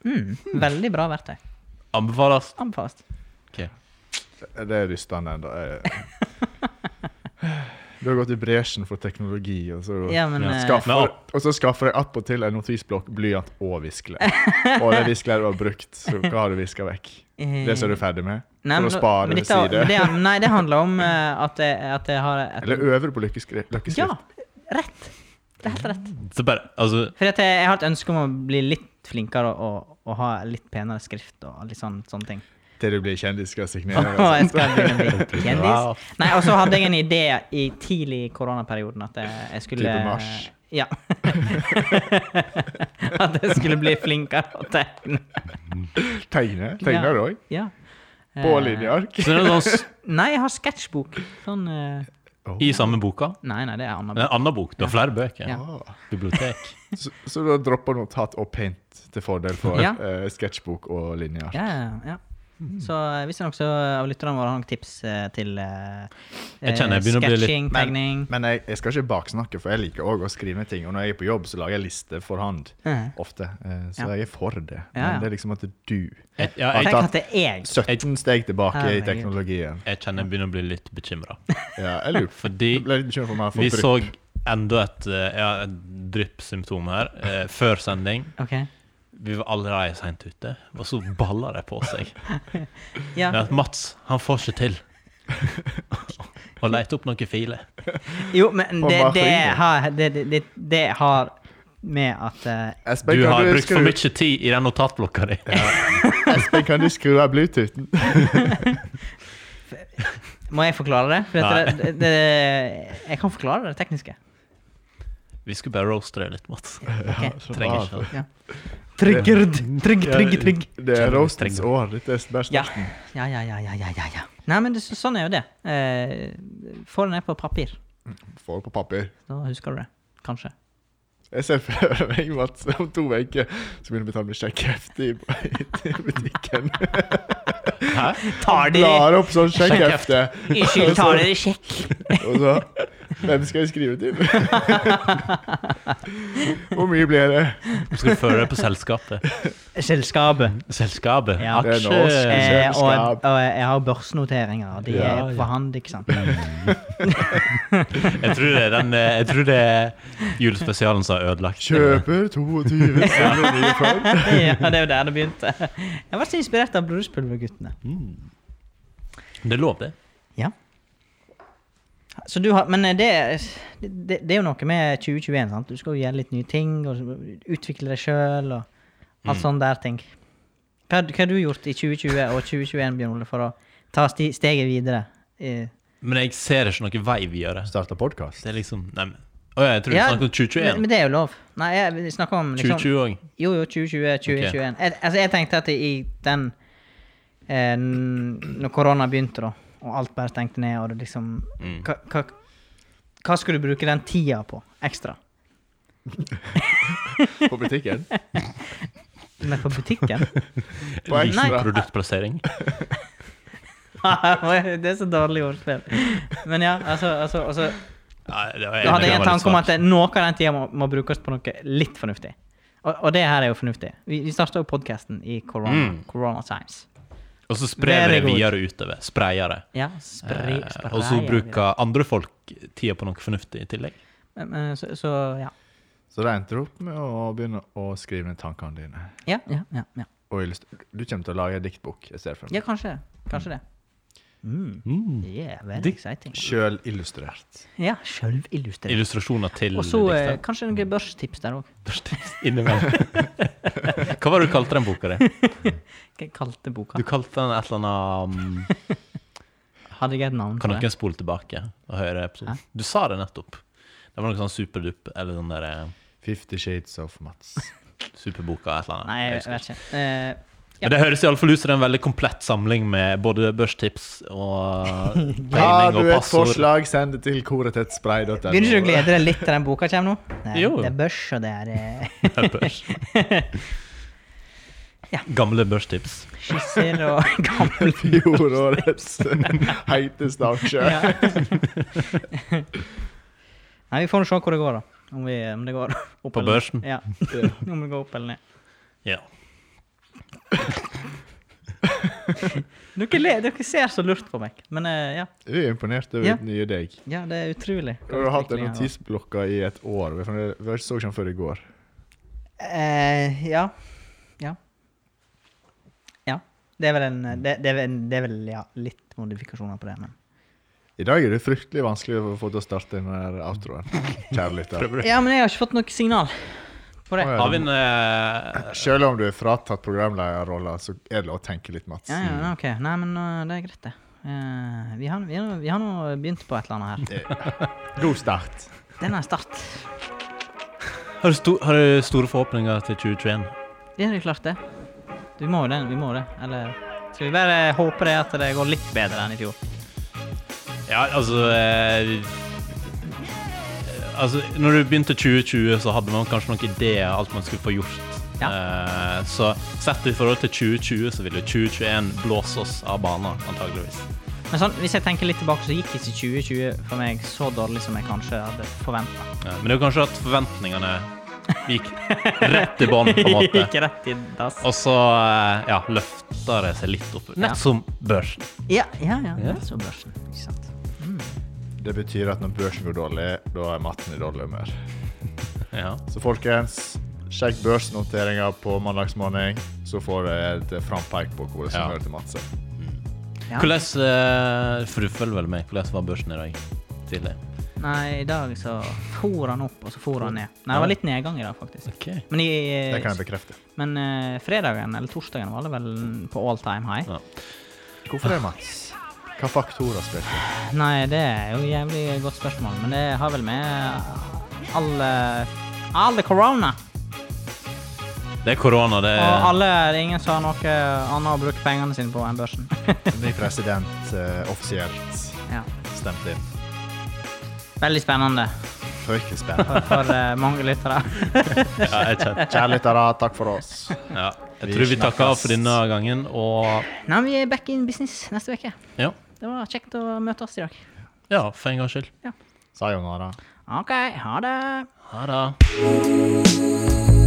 Mm, veldig bra verktøy.
Anbefales.
Anbefales.
Ok.
Det er rystende ennå. Jeg- Du har gått i bresjen for teknologi, og så,
Ja, men, eh,
skaffer, og så skaffer jeg attpåtil en notisblokk, blyant og viskle.
[LAUGHS]
Og det viskelet du har brukt, så hva har du viska vekk? Det som du er ferdig med?
eh, Nei,
for
men
å
da-
spare
men
ved
dette- men
side?
det- Nei, det handler
[LAUGHS]
om eh, at, jeg, at jeg har et,
Eller øver på lykkeskri- løkkeskrift?
Ja, rett. Det er helt rett.
Så bare, altså,
Fordi at jeg, jeg har et ønske om å bli litt flinkere og, og, og ha litt penere skrift og litt sånn, sånne ting.
Til du blir kjendis, skal jeg signere.
[LAUGHS] Og
altså.
jeg skal begynne å bli
Wow.
kjendis. Nei, og så hadde jeg en idé i tidlig i koronaperioden at jeg, jeg skulle
Type mars.
Ja. [LAUGHS] at jeg skulle bli flinkere å tegne.
Tegne? Tegner
Ja.
du òg?
Ja.
På
Eh,
linjeark?
så det er sånn s-
Nei, jeg har sketsjbok. Sånn eh,
i samme boka.
Nei, nei, det er anna
Men En annen bok. Du har flere bøker.
Ja.
Ah.
Bibliotek.
Så, så du har droppa notat og paint til fordel for
Ja.
eh, sketsjbok og linjeark?
Ja, ja, ja. Så eh, hvis det er noen som- av lytterne våre har noen tips eh, til eh,
Jeg kjenner jeg begynner å bli litt-
sketching, tegning
Men jeg, jeg skal ikke baksnakke, for jeg liker òg å skrive ned ting. Og når jeg er på jobb, så lager jeg lister for hand.
Mhm.
Ofte. eh, Så
Ja.
jeg er for det.
Ja, ja.
Men det er liksom at du
Jeg, ja,
Har
jeg,
Tenk
tatt-
at det er jeg.
17 steg tilbake i
Herregud.
teknologien.
jeg kjenner jeg begynner å bli litt bekymra.
Ja, jeg lurer på
Fordi
Jeg ble litt bekymret for om jeg har
vi
fått
så
drypp.
enda et, eh, ja, et dryppsymptom her eh, før sending.
Ok.
Vi var allerede seint ute, og så balla det på seg.
Ja.
Men at Mats han får ikke
[LAUGHS]
til å lete opp noen filer.
Jo, men
Og
det,
hva
det,
skjer?
har, det, det- det, det har med at eh,
Espen,
Du
kan
har brukt
skru-
for mye tid i den notatblokka di.
Espen, kan du skru av bluetoothen?
Må jeg forklare det? For at det, det, det? Jeg kan forklare det tekniske.
Vi skulle bare roaste deg litt, Mats.
Ok.
Trenger ikke det.
Ja. Tryggerd. Trygg, trygg, trygg.
Det er roastens
Trenger.
år. Dette er bæsj.
Ja. Ja, ja, ja, ja, ja, ja, ja. Nei, men det, så- sånn er jo det. Eh, Få det ned på papir.
Få det på papir.
Da husker du det. Kanskje.
Jeg ser for meg at om to uker så begynner vi å betale med sjekkhefte i [LAUGHS] i butikken.
Hæ?
Tar de
Blar opp sånn sjekkhefte.
Unnskyld, tar dere sjekk?
Og så Hvem skal jeg skrive
[LAUGHS]
til? Hvor mye blir det?
Du skal føre deg på selskapet.
Selskapet.
Selskapet.
Ja.
Det er norsk.
Aksje.
Eh, og,
Selskap.
og jeg har børsnoteringer. og De
Ja,
er
ja.
på hand, ikke sant. [LAUGHS]
Jeg tror det er, den, eh, jeg tror det er julespesialen som har ødelagt
Kjøper 22 selger 95.
ja, det er jo der det begynte. Jeg var så inspirert av Blodspulverguttene.
Det er lov, det.
Ja. Så du har, men det, det, det er jo noe med 2021. sant? Du skal jo gjøre litt nye ting. og Utvikle deg sjøl og
Mm.
alt sånne der ting. Hva, hva har du gjort i 2020 og 2021 Bjørn Ole, for å ta sti, steget videre? Eh, I,
Men jeg ser ikke noen vei videre.
Starta podkast.
Det er liksom Nei, men Å ja, jeg tror du
Ja,
snakket om 2021.
men, men det er jo lov. Nei, jeg vi snakker om liksom,
2020 òg.
Jo, jo, 2020, 2021. Jeg, altså, jeg tenkte at i den eh, Når korona begynte, da, og alt bare stengte ned, og det liksom
Mm.
hva, hva, hva skulle du bruke den tida på ekstra?
På butikken?
Men på butikken? [LAUGHS]
[LAUGHS]
På
Liten
ekstra.
produktplassering.
det er så dårlig ordspill. Men ja, altså, altså,
[LAUGHS]
altså
Nei, det var
Da hadde jeg
det var
en
litt
tanke om
svakt.
at noe av den tida må, må brukes på noe litt fornuftig. Og, og det her er jo fornuftig. Vi, vi starta jo podkasten i corona,
Mm.
corona times.
Og så sprer vi det
Very good.
videre utover. Spreier det.
Ja, spre,
Eh, og så bruker andre folk tida på noe fornuftig i tillegg.
Men- men Så, så ja.
Så det endte du opp med å begynne å skrive ned tankene dine.
Ja, ja, ja, ja.
Og illust- du kommer til å lage en diktbok. jeg ser for
ja
meg.
kanskje, kanskje det. Mm.
Mm.
Yeah, very
Dikt-
exciting.
Sjølillustrert.
Ja, sjølvillustrert.
Illustrasjoner til
Og så eh,
diktet.
kanskje noen børstips der òg.
[LAUGHS] Innimellom. Hva var det du kalte den boka di?
Kalte boka.
Du kalte den et eller annet um,
Hadde jeg et navn
Kan
på det?
noen spole tilbake og høre episoden? Du sa det nettopp. Det var noe sånn superdupp eller sånn der eh,
Fifty Shades of Mats.
superboka et eller annet.
Nei,
Jeg
jeg
husker ikke.
vet ikke. Eh,
Men det høres iallfall ut som det er en veldig komplett samling med både børstips og eh,
[LAUGHS]
tegning
Har du
og
et
passord.
forslag, send det til koretettspray.no.
Begynner du å glede deg litt til den boka kommer nå?
[LAUGHS]
Det er,
Jo.
det er børs, og det er eh,
Børs.
[LAUGHS] Ja.
Gamle børstips.
skisser og [LAUGHS] gamle
[LAUGHS] Fjorårets [LAUGHS] heiteste aksje.
Ja. [LAUGHS] Nei, vi får nå se hvor det går, da. Om, vi, om det går opp
På
eller
børsen?
ned.
[LAUGHS]
Ja. Om det går opp eller ned.
Ja.
Dere, le, dere ser så lurt på meg. Men eh, ja.
Jeg er imponert over
Ja.
nye deg.
ja, det er utrolig.
Du har hatt den
Utviklingen her, da.
notisblokka i et år. Vi har vi har ikke så den før i går.
Eh, ja. Ja. Ja. Det er vel en Det, det, er, vel, det er vel ja, litt modifikasjoner på det, men
I dag er det fryktelig vanskelig å få til å starte den der
[LAUGHS]
outroen. Kjære lytter.
Prøver du?
Ja, men jeg har ikke fått noe signal på det.
Å, ja.
Har vi en eh,
Selv om du er fratatt programlederrolla, så er det lov å tenke litt, Mats.
Ja, ja, men ok. Nei, men eh, det er greit, det. Eh, vi har vi har- vi har nå begynt på et eller annet her.
Mm. God start.
Den er start.
har, du sto, har du store forhåpninger til 2021?
Ja, det er klart det. Vi må jo det. Vi må det. Eller skal vi bare håpe det at det går litt bedre enn i fjor?
Ja, altså eh, Altså, når du begynte 2020, så hadde man kanskje noen ideer om alt man skulle få gjort. Eh, så sett i forhold til 2020, så vil jo 2021 blåse oss av banen, antageligvis.
Men sånn, hvis jeg tenker litt tilbake, så gikk ikke 2020 for meg så dårlig som jeg kanskje hadde forventa.
Ja, Eh, men det er jo kanskje at forventningene
[LAUGHS]
gikk rett i bånn, på en måte.
Gikk rett i dass.
Og så eh, ja, løfter det seg litt opp.
Ja.
Nett som børsen.
Ja, ja, ja.
Ja.
Det er så børsen. Ikke sant.
Det betyr at når børsen går dårlig, da er matten i dårlig humør.
Ja.
Så folkens, sjekk børsnoteringa på mandagsmorgen, så får dere et frampeik på hvordan det
Ja.
hører til Mats.
Ja.
Hvordan eh, For du følger vel med, hvordan var børsen i dag tidlig?
Nei, i dag så for han opp, og så for han ned. Nei, det var litt nedgang i dag, faktisk.
Ok.
Men, i,
Det kan jeg bekrefte.
men eh, fredagen eller torsdagen var det vel på all time high.
Ja.
Hvorfor det, Mats? Hva faktorer spilte?
Nei, det er jo et jævlig godt spørsmål, men det har vel med alle Alle korona!
Det er korona, det
Og alle det er ingen som har noe annet å bruke pengene sine på enn børsen. [LAUGHS]
Ny president eh, offisielt
ja.
stemt inn.
Veldig spennende
Fryktelig spennende.
for, for eh, mange lyttere.
ja, jeg kjenner.
Kjære lyttere, takk for oss.
[LAUGHS] Ja. Jeg
Vi
tror vi takker av
snakkes.
for denne gangen, og
Nei, vi er back in business neste uke.
ja.
Det var kjekt å møte oss i dag.
ja for en gangs skyld.
Sayonara.
OK, ha det.
Ha det.